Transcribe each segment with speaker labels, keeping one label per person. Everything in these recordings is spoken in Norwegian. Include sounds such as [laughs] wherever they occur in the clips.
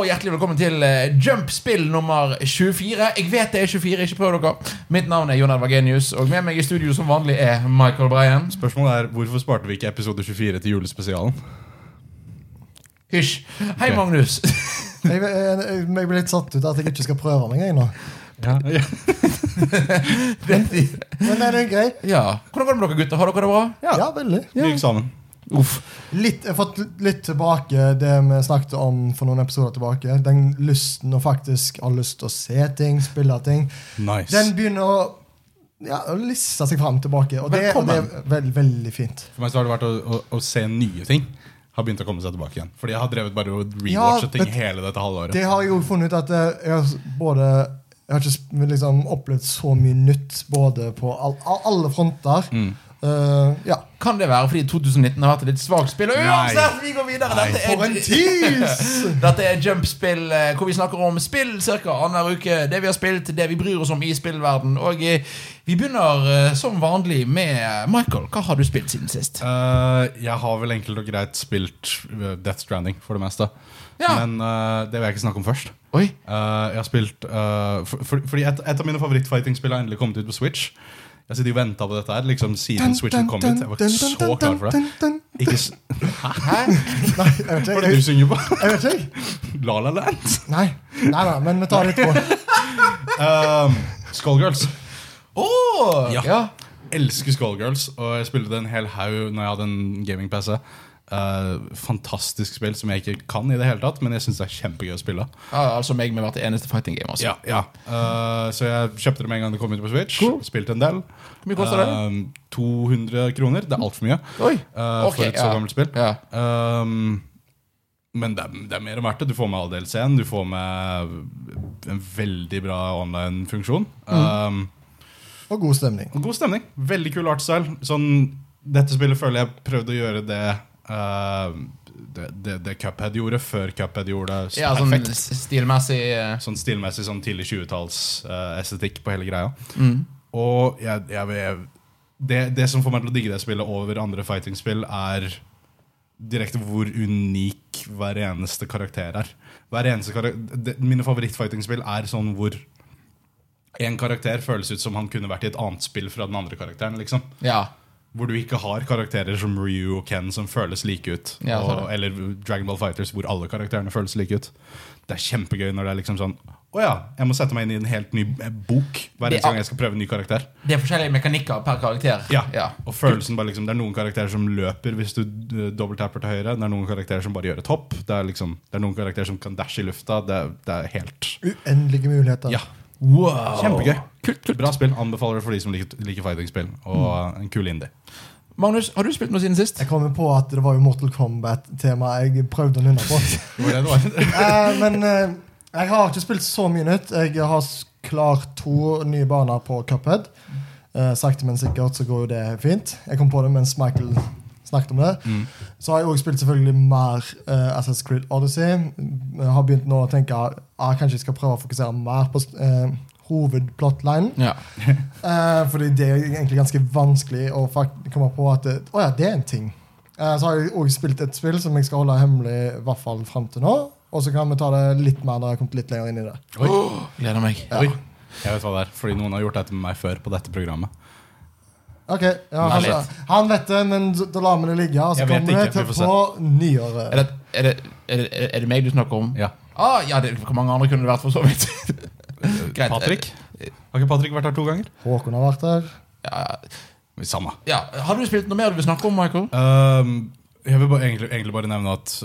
Speaker 1: Hjertelig velkommen til eh, Jumpspill nummer 24. Jeg vet det er 24, ikke prøv dere. Mitt navn er Jon Edvard Genius, og med meg i studio som vanlig er Michael Bryan.
Speaker 2: Spørsmålet er, Hvorfor sparte vi ikke episode 24 til julespesialen?
Speaker 1: Hysj. Hei,
Speaker 2: Ok.
Speaker 1: Magnus. [laughs]
Speaker 3: Jeg, jeg, jeg jeg ble litt satt ut av at jeg ikke skal prøve meg engang nå.
Speaker 2: [laughs]
Speaker 3: Men er det grei?
Speaker 1: Ja, Hvordan går det med dere gutter? Har dere det bra?
Speaker 3: Ja, veldig.
Speaker 2: Vi gikk sammen.
Speaker 1: Uff.
Speaker 3: Litt, jeg har fått litt tilbake det vi snakket om for noen episoder tilbake. Den lysten å faktisk ha lyst til å se ting, spille ting.
Speaker 2: Nice.
Speaker 3: Den begynner å ja, å lisse seg fram tilbake, og det, og det er veld, veldig fint.
Speaker 2: For meg så har det vært å, å, å se nye ting. Har begynt å komme seg tilbake igjen. Fordi jeg har drevet bare og rewatcha
Speaker 3: Ja,
Speaker 2: ting
Speaker 3: det-
Speaker 2: hele dette halvåret.
Speaker 3: Det har jeg jo funnet ut at eh, jeg har s- både Jeg har ikke sp- liksom opplevd så mye nytt både på all, all, alle fronter.
Speaker 2: Mm.
Speaker 3: Eh, ja.
Speaker 1: Kan det være fordi 2019 har hatt et litt svakt spill? Og
Speaker 2: Nei.
Speaker 1: Uansett, vi går videre!
Speaker 2: Nei,
Speaker 1: Dette
Speaker 3: For en
Speaker 1: er,
Speaker 3: tease!
Speaker 1: [laughs] dette er Jumpspill, eh, hvor vi snakker om spill ca. annenhver uke. Det vi har spilt, det vi bryr oss om i spillverden. Og eh, vi begynner eh, som vanlig med eh, Michael. Hva har du spilt siden sist?
Speaker 2: Eh, jeg har vel enkelt og greit spilt eh, Death Stranding for det meste.
Speaker 1: Ja.
Speaker 2: Men eh, det vil jeg ikke snakke om først.
Speaker 1: Oi,
Speaker 2: Eh, jeg har spilt eh, for, for, Fordi et, et av mine favorittfightingspill har endelig kommet ut på Switch. Jeg sitter jo og venta på dette her liksom siden Switchen kom ut. Jeg var ikke så klar for det. Ikke s
Speaker 1: hæ?
Speaker 3: Nei, jeg vet
Speaker 2: Hva
Speaker 3: ikke.
Speaker 2: er det
Speaker 3: Jeg,
Speaker 2: du synger på?
Speaker 3: jeg vet ikke.
Speaker 2: La La Land?
Speaker 3: Nei, nei, nei men vi tar det etterpå.
Speaker 2: [laughs] Um, Skullgirls.
Speaker 1: Å!
Speaker 2: Ja.
Speaker 1: ja.
Speaker 2: Elsker Skullgirls. Og jeg spilte det en hel haug når jeg hadde en gaming-PC. Eh, fantastisk spill som jeg ikke kan i det hele tatt, men jeg syns det er kjempegøy å spille.
Speaker 1: Ja, altså meg med å være det eneste fighting game. Altså.
Speaker 2: Ja, ja. Eh, så jeg kjøpte det med en gang det kom ut på Switch. Spilte en del.
Speaker 1: Hvor mye koster det?
Speaker 2: Eh, 200 kroner. Det er altfor mye
Speaker 1: Oi.
Speaker 2: eh,
Speaker 1: Ok,
Speaker 2: for et så
Speaker 1: ja.
Speaker 2: gammelt spill.
Speaker 1: Ja.
Speaker 2: Ehm, men det er, det er mer enn verdt det. Du får med all del scenen. Du får med en veldig bra online-funksjon.
Speaker 1: Mm.
Speaker 2: Ehm,
Speaker 3: Og god stemning.
Speaker 2: og God stemning. Veldig kul artstyle. Sånn, dette spillet føler jeg prøvde å gjøre det eh, det, det, det Cuphead gjorde før Cuphead gjorde det
Speaker 1: ja, sånn
Speaker 2: perfekt.
Speaker 1: s- stilmessig eh,
Speaker 2: Sånn stilmessig sånn tidlig 20-talls-estetikk på hele greia.
Speaker 1: mm.
Speaker 2: Og jeg, jeg, jeg, det, det som får meg til å digge det spillet over andre fighting-spill, er direkte hvor unik hver eneste karakter er. Hver eneste karakter, det, mine favoritt-fighting-spill er sånn hvor en karakter føles ut som han kunne vært i et annet spill fra den andre karakteren. liksom.
Speaker 1: Ja.
Speaker 2: Hvor du ikke har karakterer som Ryu og Ken som føles like ut.
Speaker 1: Ja,
Speaker 2: og,
Speaker 1: så det.
Speaker 2: eller Dragon Ball Fighters hvor alle karakterene føles like ut. Det er kjempegøy når det er liksom sånn Å ja, jeg må sette meg inn i en helt ny eh, bok hver
Speaker 1: Det
Speaker 2: eneste
Speaker 1: er-
Speaker 2: gang jeg skal prøve en ny karakter.
Speaker 1: Det er forskjellige mekanikker per karakter.
Speaker 2: Ja.
Speaker 1: ja.
Speaker 2: Og følelsen bare liksom, Det er noen karakterer som løper hvis du eh, dobbelttapper til høyre. Det er noen karakterer som bare gjør et hopp. Det er, liksom, det er noen karakterer som kan dashe i lufta. Det er, det er helt
Speaker 3: Uendelige muligheter.
Speaker 2: Ja.
Speaker 1: Wow.
Speaker 2: Kjempegøy. Bra spill. Anbefaler det for de som liker, liker fighting-spill. Og eh, en kul indie.
Speaker 1: Magnus, har du spilt noe siden sist?
Speaker 3: Jeg kom jo på at det var jo Mortal Kombat-tema jeg prøvde å nynne på.
Speaker 2: [laughs] Det var det det var.
Speaker 3: [laughs] Eh, men eh, jeg har ikke spilt så mye nytt. Jeg har s- klart to nye baner på Cuphead. Eh, sakte, men sikkert så går jo det fint. Jeg kom på det mens Michael snakket om det.
Speaker 2: Mm.
Speaker 3: Så har jeg også spilt selvfølgelig mer eh, Assassin's Creed Odyssey. Jeg har begynt nå å tenke ah, kanskje jeg skal prøve å fokusere mer på eh, hovedplotlinen.
Speaker 1: Ja.
Speaker 3: Eh, fordi det er egentlig ganske vanskelig å fakt komme på at det, å ja, det er en ting. Eh, så har jeg også spilt et spill som jeg skal holde hemmelig i hvert fall fram til nå. Og så kan vi ta det litt mer når jeg har kommet litt lenger inn i det.
Speaker 2: Oi.
Speaker 1: Åh, gleder meg.
Speaker 3: Ja.
Speaker 2: Oi. Jeg vet hva det er, fordi noen har gjort dette med meg før på dette programmet.
Speaker 3: Ok, ja,
Speaker 1: Nei,
Speaker 3: altså, Han vet det, men så- da lar vi det ligge. Og så
Speaker 2: Jeg vet
Speaker 3: kommer
Speaker 2: ikke, vi
Speaker 3: det til
Speaker 2: får
Speaker 3: på
Speaker 1: Er
Speaker 3: nyåret.
Speaker 1: det, er, det, er, det, er det meg du snakker om?
Speaker 2: Ja.
Speaker 1: Ah, ja det, hvor mange andre kunne det vært, for så vidt? [laughs] Greit.
Speaker 2: Patrick?
Speaker 3: Eh,
Speaker 2: Har ikke Patrick vært her to ganger?
Speaker 3: Håkon har vært der.
Speaker 1: Ja,
Speaker 2: Samme.
Speaker 1: ja. Har du spilt noe mer du vil snakke om, Michael?
Speaker 2: Ehm, jeg vil bare, egentlig, egentlig bare nevne at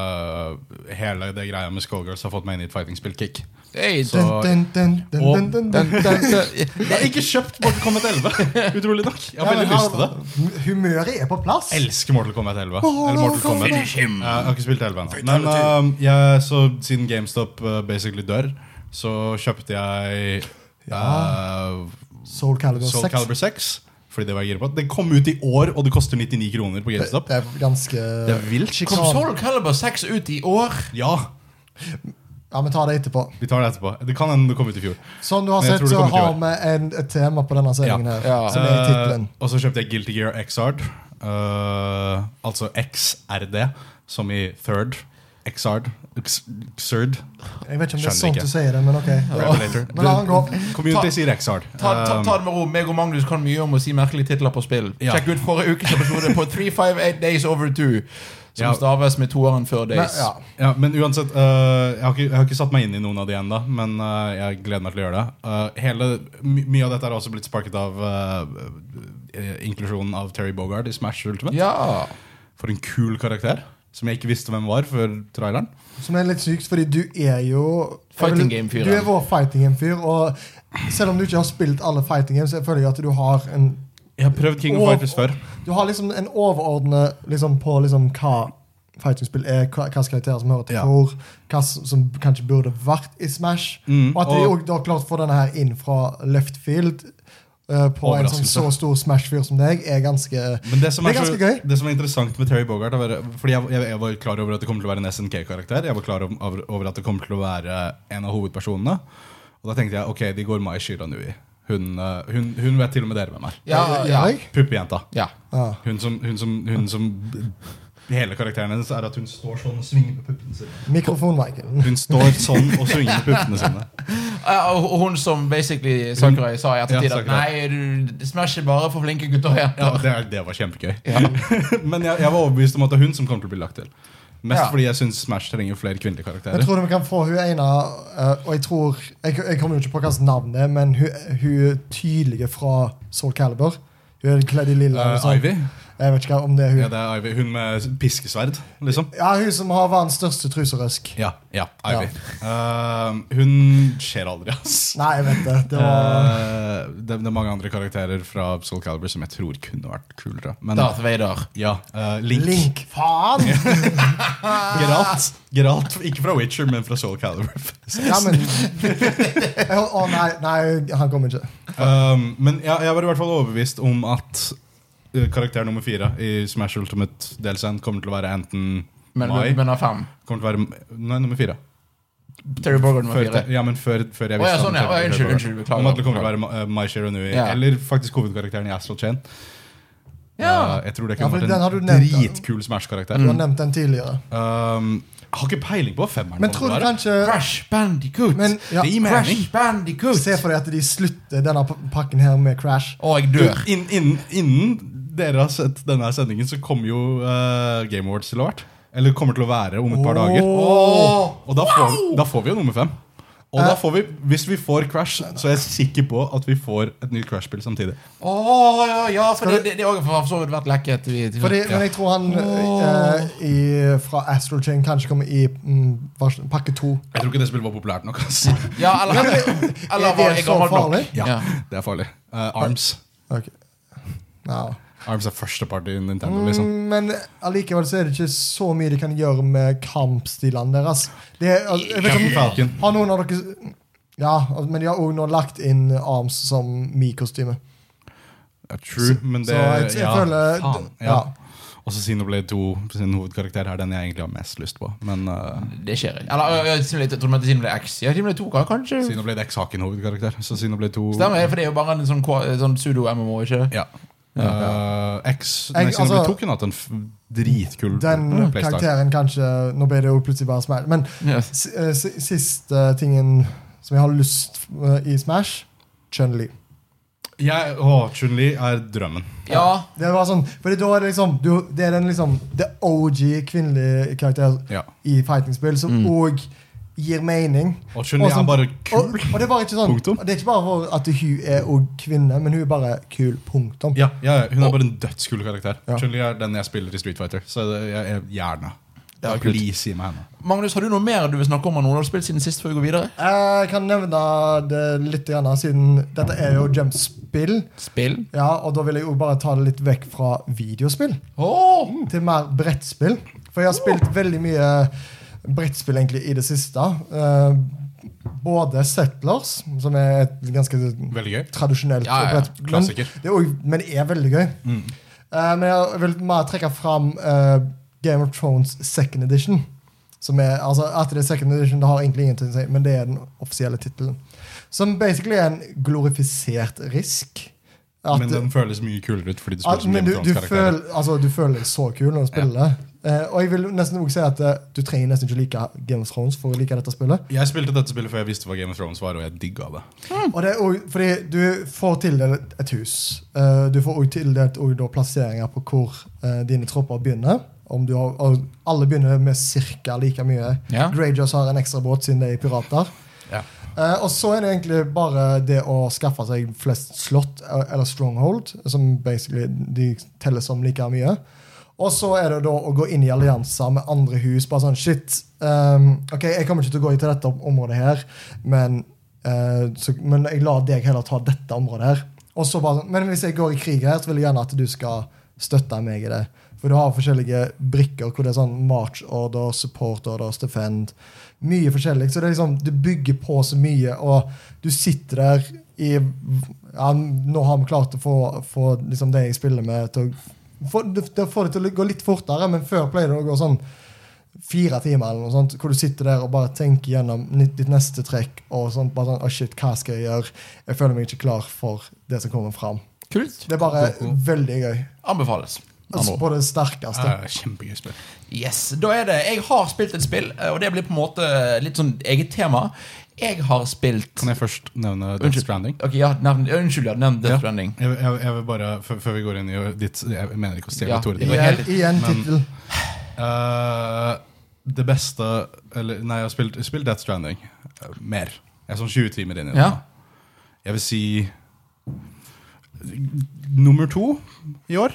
Speaker 2: øh, hele det greia med Skullgirls har fått meg inn i et fightingspill-kick.
Speaker 1: Hey,
Speaker 2: Så-
Speaker 3: Dun, dun, dun, dun,
Speaker 2: Og-
Speaker 3: dun, dun.
Speaker 1: den, den, [laughs] den,
Speaker 2: Jeg har ikke kjøpt Mortal Kombat 11! [laughs] Utrolig nok. Jeg har
Speaker 3: Ja, men
Speaker 2: veldig lyst til det.
Speaker 3: her- Humøret er på plass.
Speaker 2: Elsker Mortal Kombat 11.
Speaker 3: Oh,
Speaker 2: Eller Mortal Kombat.
Speaker 1: Finish him.
Speaker 2: Eh, Jeg har ikke spilt 11 ennå. Men ehm, jeg, så siden GameStop eh, basically dør, så kjøpte jeg eh,
Speaker 3: Soul Calibur
Speaker 2: Soul
Speaker 3: 6.
Speaker 2: Calibur 6. Fordi det var jeg gira på. Det kom ut i år, og det koster 99 kroner på
Speaker 3: Det,
Speaker 2: GameStop.
Speaker 3: det er ganske
Speaker 2: Det er vilt.
Speaker 1: Kom Soul Calibur 6 ut i år?
Speaker 2: Ja,
Speaker 3: Ja, vi tar det etterpå.
Speaker 2: vi tar det etterpå. Det kan hende det kom ut i fjor.
Speaker 3: Som Sånn du har
Speaker 2: Men jeg
Speaker 3: sett,
Speaker 2: tror det
Speaker 3: så
Speaker 2: kommer til
Speaker 3: har
Speaker 2: å
Speaker 3: vi en, et tema på denne sendingen her.
Speaker 1: Ja.
Speaker 3: Som er i tittelen.
Speaker 2: Eh, og så kjøpte jeg Guilty Gear Xrd. eh, altså XRD, som i third. Xard. X- Xrd.
Speaker 3: Jeg vet ikke om det er
Speaker 2: Skjønner
Speaker 3: sånn
Speaker 2: ikke.
Speaker 3: du sier det, men ok.
Speaker 2: Revelator.
Speaker 3: Men la han gå.
Speaker 2: Community sier Xard.
Speaker 1: Ta, ta, ta det med ro. Meg og Magnus kan mye om å si merkelige titler på spill.
Speaker 2: Ja.
Speaker 1: Sjekk ut forrige ukes episode på 358 Days Over 2. Som
Speaker 2: Ja.
Speaker 1: staves med toeren før
Speaker 3: Men,
Speaker 1: days.
Speaker 3: ja.
Speaker 2: Ja, men uansett, øh, jeg, har ikke, jeg har ikke satt meg inn i noen av de ennå, men øh, jeg gleder meg til å gjøre det. Øh, hele, my, mye av dette er også blitt sparket av øh, øh, inklusjonen av Terry Bogard i Smash Ultimate.
Speaker 1: Ja.
Speaker 2: For en kul karakter, som jeg ikke visste hvem var før traileren.
Speaker 3: Som er litt sykt, fordi du er jo
Speaker 1: Fighting
Speaker 3: Jeg vil-
Speaker 1: game-fyren.
Speaker 3: Du er vår fighting game-fyr, og selv om du ikke har spilt alle fighting games, så føler jeg at du har en
Speaker 2: Jeg har prøvd King of
Speaker 3: Og-
Speaker 2: Fighters før.
Speaker 3: Du har liksom en overordnet liksom, på liksom, hva fighting-spill er, hva hvilke karakterer som hører til
Speaker 2: Ja.
Speaker 3: hvor, hva s- som kanskje burde vært i Smash.
Speaker 2: Mm,
Speaker 3: og at de
Speaker 2: og-
Speaker 3: og, da klart får denne her inn fra left field eh, på en sånn
Speaker 2: Overraskelse.
Speaker 3: så stor Smash-fyr som deg, er ganske eh,
Speaker 2: Men det som
Speaker 3: Det
Speaker 2: er,
Speaker 3: er
Speaker 2: så,
Speaker 3: ganske gøy.
Speaker 2: det som er interessant med Terry Bogard er bare- Fordi jeg, jeg, jeg var klar over at det kommer til å være en SNK-karakter. Jeg var klar om- over, over at det kommer til å være en av hovedpersonene. Og da tenkte jeg ok, de går Mai Shira Nui. Hun, øh, hun, hun vet til og med dere hvem er.
Speaker 1: Ja, ja.
Speaker 3: Gjør jeg?
Speaker 2: Puppejenta.
Speaker 1: ja.
Speaker 3: Ja.
Speaker 2: Hun som, hun som, hun som Hele karakteren hennes er at hun står sånn og svinger med puppene sine.
Speaker 3: Mikrofon-Michael.
Speaker 2: Hun står sånn og svinger med puppene sine.
Speaker 1: Ja, Eh, Og og hun som basically Sakurai sa i ettertid
Speaker 2: Ja,
Speaker 1: at
Speaker 2: Sakurai.
Speaker 1: nei, du Smash er bare for flinke gutter og
Speaker 2: [laughs] Ja,
Speaker 1: jenter.
Speaker 2: det, er- det var kjempegøy.
Speaker 1: Ja.
Speaker 2: [laughs] Men jeg, jeg var overbevist om at det er hun som kommer til å bli lagt til. Mest
Speaker 1: Ja.
Speaker 2: fordi jeg syns Smash trenger flere kvinnelige
Speaker 3: Jeg
Speaker 2: karakterer.
Speaker 3: tror vi kan få hun ene eh, Og jeg tror Jeg, jeg kommer jo ikke på hva slags navn det er, men hun, hun tydelige fra Soul Calibur. Hun er kledd i lilla.
Speaker 2: Eh,
Speaker 3: og sånn.
Speaker 2: Ivy.
Speaker 3: Jeg vet ikke hva- om det er hun.
Speaker 2: Ja, det er Ivy. Hun med piskesverd, liksom.
Speaker 3: Ja, hun som har verdens største truserøsk.
Speaker 2: Ja, ja, Ivy. Eh, hun skjer aldri, ass.
Speaker 3: Nei, jeg vet det. Det var
Speaker 2: Eh, det, det er mange andre karakterer fra Soul Calibur som jeg tror kunne vært kulere. Men
Speaker 1: Darth Vader.
Speaker 2: ja, eh, Link.
Speaker 3: Link. Faen!
Speaker 2: Geralt, Geralt, ikke fra Witcher, men fra Soul Calibur.
Speaker 3: Ja, men Å å, nei, nei, han kommer ikke.
Speaker 2: Um, men jeg, jeg var i hvert fall overbevist om at uh, karakter nummer fire i Smash Ultimate DLC-en kommer til å være enten
Speaker 1: Men
Speaker 2: Mai
Speaker 1: nummer fem.
Speaker 2: kommer til å være, Nei, nummer fire.
Speaker 1: Terry Borgard nummer
Speaker 2: Før,
Speaker 1: fire.
Speaker 2: ja, men før, før jeg
Speaker 1: Å, ja,
Speaker 2: visste
Speaker 1: sånn, ja.
Speaker 2: om Terry
Speaker 1: Å, unnskyld,
Speaker 2: Bogard.
Speaker 1: unnskyld, beklager.
Speaker 2: Om at det kommer til å være Ma- uh, Mai Shiro Nui,
Speaker 1: Ja.
Speaker 2: eller faktisk hovedkarakteren i Astral Chain.
Speaker 1: Ja.
Speaker 2: Uh, jeg tror det
Speaker 3: Ja, Mm. for
Speaker 2: kunne
Speaker 3: den har
Speaker 2: vært
Speaker 3: du
Speaker 2: en
Speaker 3: nevnt, da.
Speaker 2: dritkul Smash-karakter.
Speaker 3: Du har nevnt den tidligere.
Speaker 2: Um, jeg har ikke peiling på hva femmeren
Speaker 3: Men
Speaker 2: kommer til å
Speaker 3: tror du
Speaker 2: være.
Speaker 3: kanskje
Speaker 1: Crash Bandicoot.
Speaker 3: Men ja,
Speaker 2: Det gir meg- mening.
Speaker 1: Crash Bandicoot.
Speaker 3: Se for deg at de slutter denne p- pakken her med Crash.
Speaker 1: Å, jeg dør.
Speaker 2: Du, inn- innen, innen dere har sett denne sendingen, så kommer jo uh, Game Awards til å ha vært. Eller kommer til å være om et par dager.
Speaker 3: Åh!
Speaker 2: Og da får, da får vi jo nummer fem. Og
Speaker 3: Eh.
Speaker 2: da får vi, hvis vi får Crash, så er jeg sikker på at vi får et nytt Crash-spill samtidig.
Speaker 1: Å, ja, ja, for det, det, det har for så vidt vært lekket. i- til-
Speaker 3: Fordi, Men jeg tror han eh, i, fra Astral Chain kanskje kommer i mm, vers- pakke to.
Speaker 2: Jeg tror ikke det spillet var populært nok. ass.
Speaker 1: ja, eller, eller
Speaker 3: Er
Speaker 1: var
Speaker 3: det
Speaker 1: jeg
Speaker 3: så
Speaker 1: gammel nok?
Speaker 3: farlig?
Speaker 2: Ja,
Speaker 1: Ja.
Speaker 2: Det er farlig. Eh, Arms.
Speaker 3: Ok. Ja.
Speaker 2: Arms er førsteparty i Nintendo. liksom
Speaker 3: Mm, Men allikevel så er det ikke så mye de kan gjøre med kampstilene deres. Det er, al- jeg vet
Speaker 2: Captain
Speaker 3: ikke om,
Speaker 2: Falcon.
Speaker 3: har noen av dere Ja, al- men de har òg nå lagt inn Arms som Mi-kostyme.
Speaker 2: Ja, true, men det
Speaker 3: Så jeg, jeg
Speaker 2: ja,
Speaker 3: føler
Speaker 2: faen, ja.
Speaker 3: ja.
Speaker 2: Også Xenoblade 2 sin hovedkarakter er den jeg egentlig har mest lyst på. Men eh,
Speaker 3: Mm.
Speaker 1: Det skjer ikke. Eller ø, ø, Xenoblade- jeg tror de heter Xenoblade X. Ja, Xenoblade 2 kan kanskje
Speaker 2: Xenoblade X har ikke en hovedkarakter. Så Xenoblade 2
Speaker 1: Stemmer, for det er jo bare en sånn, K- sånn pseudo-MMO, ikke det?
Speaker 2: Ja. Eh, X Nei,
Speaker 3: Jeg-
Speaker 2: Xenoblade
Speaker 3: altså-
Speaker 2: 2 kunne hatt en f dritkul
Speaker 3: Den
Speaker 2: Mm, playstyle.
Speaker 3: karakteren kanskje Nå ble det jo plutselig bare Smash. Men
Speaker 1: Ja.
Speaker 3: s- eh, s- siste tingen som jeg har lyst eh, i Smash Chun-Li.
Speaker 2: Jeg, åh, Chun-Li er drømmen.
Speaker 1: ja.
Speaker 3: Det var sånn, fordi da er det liksom du, Det er den liksom The OG kvinnelige karakter
Speaker 2: Ja.
Speaker 3: i fightingspill som òg gir mening.
Speaker 2: Og Chun-Li
Speaker 3: Og sånn-
Speaker 2: er bare
Speaker 3: Og,
Speaker 2: kul.
Speaker 3: og det er bare ikke sånn
Speaker 2: Punktum.
Speaker 3: Det er ikke bare for at hun er òg kvinne, men hun er bare kul. Punktum.
Speaker 2: Ja, ja, ja, hun er bare en dødskul karakter.
Speaker 3: Ja.
Speaker 2: Chun-Li er den jeg spiller i Street Fighter. Så det, jeg, jeg, gjerne.
Speaker 1: Ja, kult.
Speaker 2: Please, gi meg henne.
Speaker 1: Magnus, har du noe mer du vil snakke om av noen har spilt siden sist før vi går videre?
Speaker 3: Jeg kan nevne det litt, grann, siden dette er jo jumpspill.
Speaker 1: Spill?
Speaker 3: Ja, og da vil jeg jo bare ta det litt vekk fra videospill
Speaker 1: Åh!
Speaker 3: til mer brettspill. For jeg har spilt veldig mye brettspill egentlig i det siste. Eh, både Settlers, som er et ganske
Speaker 2: Veldig gøy.
Speaker 3: tradisjonelt
Speaker 1: Ja, ja, ja.
Speaker 3: brett- men
Speaker 2: Klassiker. Mm.
Speaker 3: Det er, også- men det er veldig gøy. Eh, men jeg vil mer trekke fram eh, Game of Thrones second edition. Som er, altså, at det er second edition, det har egentlig ingenting å si, men det er den offisielle tittelen. Som basically er en glorifisert risk. At-
Speaker 2: Men den føles mye kulere ut fordi du
Speaker 3: at,
Speaker 2: spiller som
Speaker 3: men
Speaker 2: Game
Speaker 3: du,
Speaker 2: of
Speaker 3: du,
Speaker 2: Thrones-karakter.
Speaker 3: føler, altså, du føler deg så kul når du spiller det. Eh, og jeg vil nesten også si at eh, Du trenger nesten ikke like Game of Thrones for å like dette spillet.
Speaker 2: Jeg spilte dette spillet før jeg visste hva Game of Thrones var, og jeg digga det.
Speaker 3: Og det er også, fordi Du får tildelt et hus. Eh, Du får også tildelt også da plasseringer på hvor eh, dine tropper begynner. Om du har, og alle begynner med ca. like mye.
Speaker 1: Ja.
Speaker 3: Greyjoys har en ekstra båt siden de er pirater.
Speaker 2: Ja.
Speaker 3: Eh, og så er det egentlig bare det å skaffe seg flest slott, eh, eller stronghold, som basically de teller som like mye. Og så er det da å gå inn i allianser med andre hus. Bare sånn shit. ehm, ok, jeg kommer ikke til å gå inn til dette området her, men, eh, så, men jeg lar deg heller ta dette området her. Og så bare sånn, Men hvis jeg går i krig her, så vil jeg gjerne at du skal støtte meg i det. For du har forskjellige brikker hvor det er sånn march order, support orders, defend. Mye forskjellig. Så det er liksom, du bygger på så mye, og du sitter der i ja, Nå har vi klart å få, få liksom det jeg spiller med, til å få, det, det får det til å gå litt fortere, men før pleier det å gå sånn fire timer, eller noe sånt, hvor du sitter der og bare tenker gjennom nytt- ditt neste trekk. og sånt, bare sånn, «Å, shit, Hva skal jeg gjøre? Jeg føler meg ikke klar for det som kommer fram.
Speaker 1: Kult.
Speaker 3: Det er bare veldig gøy.
Speaker 1: Anbefales.
Speaker 3: Altså, på det sterkeste.
Speaker 2: Eh, kjempegøy spill.
Speaker 1: Yes, da er det Jeg har spilt et spill, eh, og det blir på en måte litt sånn eget tema. Jeg har spilt
Speaker 2: Kan jeg først nevne Death
Speaker 1: Unnskyld.
Speaker 2: Stranding?
Speaker 1: Ok, ja, nevn, Unnskyld, ja. Nevn Death
Speaker 2: Ja.
Speaker 1: Stranding.
Speaker 2: Jeg, jeg, jeg vil bare, før, før vi går inn i ditt Jeg mener ikke å stjele
Speaker 1: Ja,
Speaker 2: Tore.
Speaker 1: det
Speaker 2: din.
Speaker 1: var
Speaker 3: Igjen,
Speaker 1: helt-
Speaker 3: igjen
Speaker 2: men-
Speaker 3: tittel.
Speaker 2: Eh, det beste Eller, nei, jeg har spilt, spilt Death Stranding. eh, mer. Jeg er sånn 20 timer inn i det.
Speaker 1: Ja.
Speaker 2: nå. Jeg vil si nummer to i år.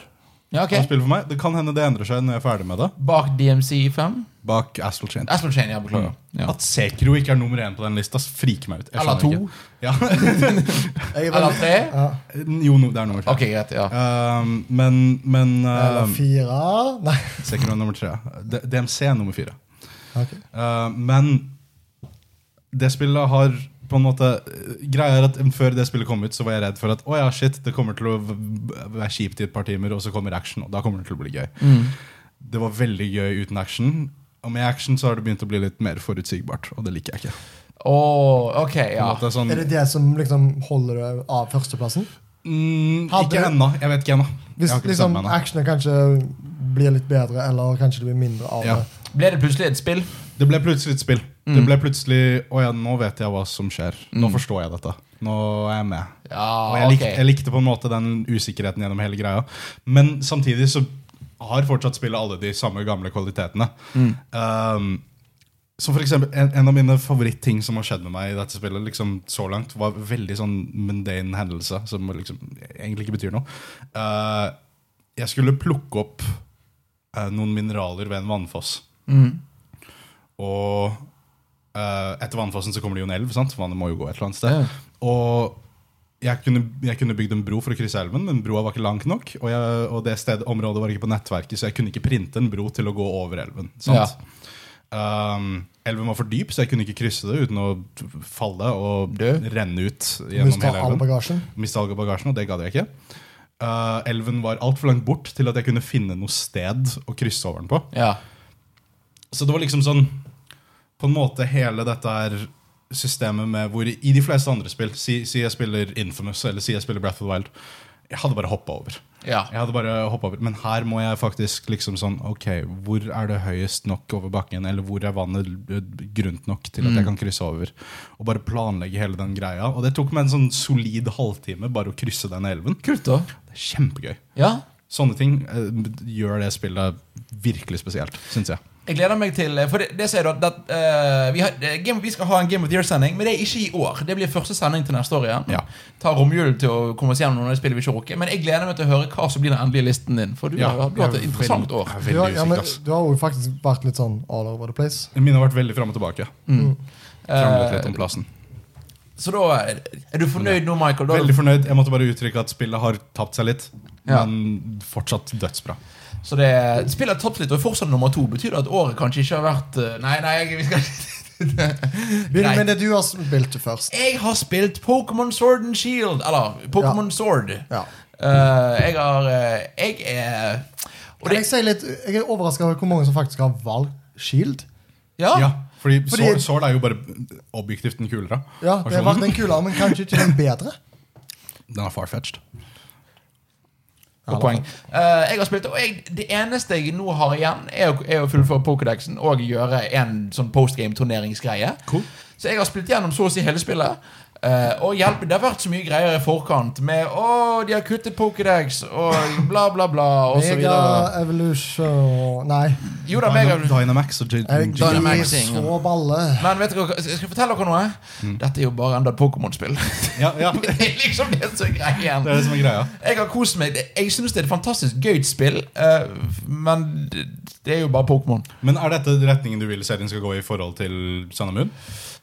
Speaker 1: Ja,
Speaker 2: Okay.
Speaker 1: ok
Speaker 2: Spill for meg. Det kan hende det endrer seg når jeg er ferdig med det.
Speaker 1: Bak DMC5?
Speaker 2: Bak Astral Chain.
Speaker 1: Aspen Chain, ja.
Speaker 3: Mm,
Speaker 1: Beklager. Ja.
Speaker 2: At Sekro ikke er nummer én på den lista, friker meg ut. Jeg
Speaker 1: Eller
Speaker 2: skjønner
Speaker 1: to?
Speaker 2: Ikke.
Speaker 3: Jeg er
Speaker 1: Eller
Speaker 3: veldig-
Speaker 1: tre?
Speaker 3: Ja.
Speaker 2: Ja. [laughs] Jo, no, det er nummer tre.
Speaker 1: Ok, greit. ja
Speaker 2: Um, men men
Speaker 3: Eller
Speaker 2: um,
Speaker 3: fire Nei.
Speaker 2: Sekiro er nummer tre. D- DMC er nummer fire.
Speaker 3: ok.
Speaker 2: Uh, men det spillet har på en måte eh, Greia er at Før det spillet kom ut, så var jeg redd for at Å ja, shit, det kommer til å v- v- være kjipt i et par timer, og så kommer action, og da kommer det til å bli gøy. Det var veldig gøy uten action. Og med action så har det begynt å bli litt mer forutsigbart, og det liker jeg ikke.
Speaker 1: Åh, ok,
Speaker 2: På en
Speaker 1: ja.
Speaker 2: måte sånn,
Speaker 3: Er det det som liksom holder det av førsteplassen?
Speaker 2: mm,
Speaker 3: Hadde
Speaker 2: ikke
Speaker 3: du-
Speaker 2: ennå. Jeg vet ikke ennå. Jeg
Speaker 3: Hvis
Speaker 2: har ikke bestemt
Speaker 3: liksom
Speaker 2: meg ennå.
Speaker 3: actionen kanskje blir litt bedre, eller kanskje det blir mindre av
Speaker 2: Ja.
Speaker 3: det.
Speaker 1: Ble det plutselig et spill?
Speaker 2: Det ble plutselig et spill. Det ble plutselig Å ja, nå vet jeg hva som skjer. Nå forstår jeg dette. Nå er jeg med. Og
Speaker 1: Ja,
Speaker 2: jeg likte, jeg
Speaker 1: ok.
Speaker 2: likte på en måte den usikkerheten gjennom hele greia. Men samtidig så har fortsatt spillet alle de samme gamle kvalitetene.
Speaker 1: Mm.
Speaker 2: Um, så for eksempel, en, en av mine favorittting som har skjedd med meg i dette spillet, liksom så langt, var veldig sånn mundane hendelse, som liksom egentlig ikke betyr noe. Uh, jeg skulle plukke opp eh, noen mineraler ved en vannfoss. Og eh, etter vannfossen så kommer det jo en elv, sant? vannet må jo gå et eller annet sted.
Speaker 1: Ja.
Speaker 2: Og jeg kunne, jeg kunne bygd en bro for å krysse elven, men broa var ikke langt nok. Og, jeg, og det stedet, området var ikke på nettverket, så jeg kunne ikke printe en bro til å gå over elven. Sant? Um, elven var for dyp, så jeg kunne ikke krysse det uten å falle og
Speaker 1: Dø.
Speaker 2: renne ut.
Speaker 3: Du må
Speaker 2: gjennom
Speaker 3: ta
Speaker 2: hele
Speaker 3: all
Speaker 2: elven
Speaker 3: bagasjen.
Speaker 2: miste all bagasjen, og det gadd jeg ikke. Eh, elven var altfor langt bort til at jeg kunne finne noe sted å krysse over den på.
Speaker 1: Ja.
Speaker 2: Så det var liksom sånn På en måte hele dette her systemet med hvor I de fleste andre spill, si, si jeg spiller Infamous eller si jeg spiller Breath of the Wild, jeg hadde bare hoppa over.
Speaker 1: Ja.
Speaker 2: Jeg hadde bare hoppet over Men her må jeg faktisk liksom sånn Ok, hvor er det høyest nok over bakken? Eller hvor er vannet l- grunt nok til at jeg kan krysse over? Og bare planlegge hele den greia. Og det tok meg en sånn solid halvtime bare å krysse den elven.
Speaker 1: Kult, da.
Speaker 2: Det er kjempegøy.
Speaker 1: Ja.
Speaker 2: Sånne ting eh, gjør det spillet virkelig spesielt, syns jeg.
Speaker 1: Jeg gleder meg til eh, For det, det sier du at, at eh, vi, har, eh, game, vi skal ha en Game of the Year-sending, men det er ikke i år. Det blir første sending til neste år igjen.
Speaker 2: Ja.
Speaker 1: Ta romjulen til å komme oss gjennom noen av de spillene vi ikke orker. Men jeg gleder meg til å høre hva som blir den endelige listen din. For du, har, du har hatt et interessant år.
Speaker 2: Jeg er
Speaker 3: Du har,
Speaker 2: veldig
Speaker 3: ja, men,
Speaker 2: usikker, ass.
Speaker 3: du har jo faktisk vært litt sånn all over the place.
Speaker 2: Mine har vært veldig fram og tilbake.
Speaker 1: Eh,
Speaker 2: Kranglet litt om plassen.
Speaker 1: Så da er er du fornøyd nå, Michael? Da,
Speaker 2: Veldig fornøyd. Jeg måtte bare uttrykke at spillet har tapt seg litt,
Speaker 1: Ja.
Speaker 2: men fortsatt dødsbra.
Speaker 1: Så det spillet er toppslitt og er fortsatt nummer to. Betyr det at året kanskje ikke har vært eh, Nei, nei, jeg- vi skal
Speaker 3: Begynn
Speaker 1: Greit.
Speaker 3: med det du har spilt først.
Speaker 1: Jeg har spilt Pokémon Sword and Shield. Eller Pokémon Sword.
Speaker 3: Ja.
Speaker 1: Eh, jeg har eh, Jeg er og
Speaker 3: Kan
Speaker 1: det,
Speaker 3: jeg, si litt, jeg er overraska over hvor mange som faktisk har valgt Shield.
Speaker 1: ja,
Speaker 2: Ja, fordi,
Speaker 3: Fordi-
Speaker 2: Sword- Sword er jo bare objektivt den kulere.
Speaker 3: Ja, Det har vært
Speaker 2: versjonen.
Speaker 3: den kulere, men kanskje ikke den bedre.
Speaker 2: Den er farfetched.
Speaker 1: og poeng. Eh, jeg har spilt det, og jeg, det eneste jeg nå har igjen, er å, er å fullføre Pokédexen og gjøre en sånn postgame-turneringsgreie.
Speaker 2: Cool.
Speaker 1: Så jeg har spilt gjennom så å si hele spillet. eh, og hjelp, Det har vært så mye greier i forkant med å, de har kuttet Pokédex og bla, bla, bla. [laughs] Og så
Speaker 3: Mega
Speaker 1: videre.
Speaker 3: Evolution Nei.
Speaker 1: Jo da, mega
Speaker 2: Dynamax og J-
Speaker 3: Jeg
Speaker 2: J-
Speaker 1: Dynamax.
Speaker 3: blir så balle.
Speaker 1: Men vet dere hva, jeg skal fortelle dere noe. Dette er jo bare enda et Pokémon-spill.
Speaker 2: Ja,
Speaker 1: [laughs]
Speaker 2: ja.
Speaker 1: det er liksom det som er greien.
Speaker 2: Det er det som er greia.
Speaker 1: Jeg har kost meg. Det- Jeg syns det er et fantastisk gøyt spill, eh, men det det er jo bare Pokémon.
Speaker 2: Men er dette retningen du vil serien skal gå i forhold til Sun and Moon?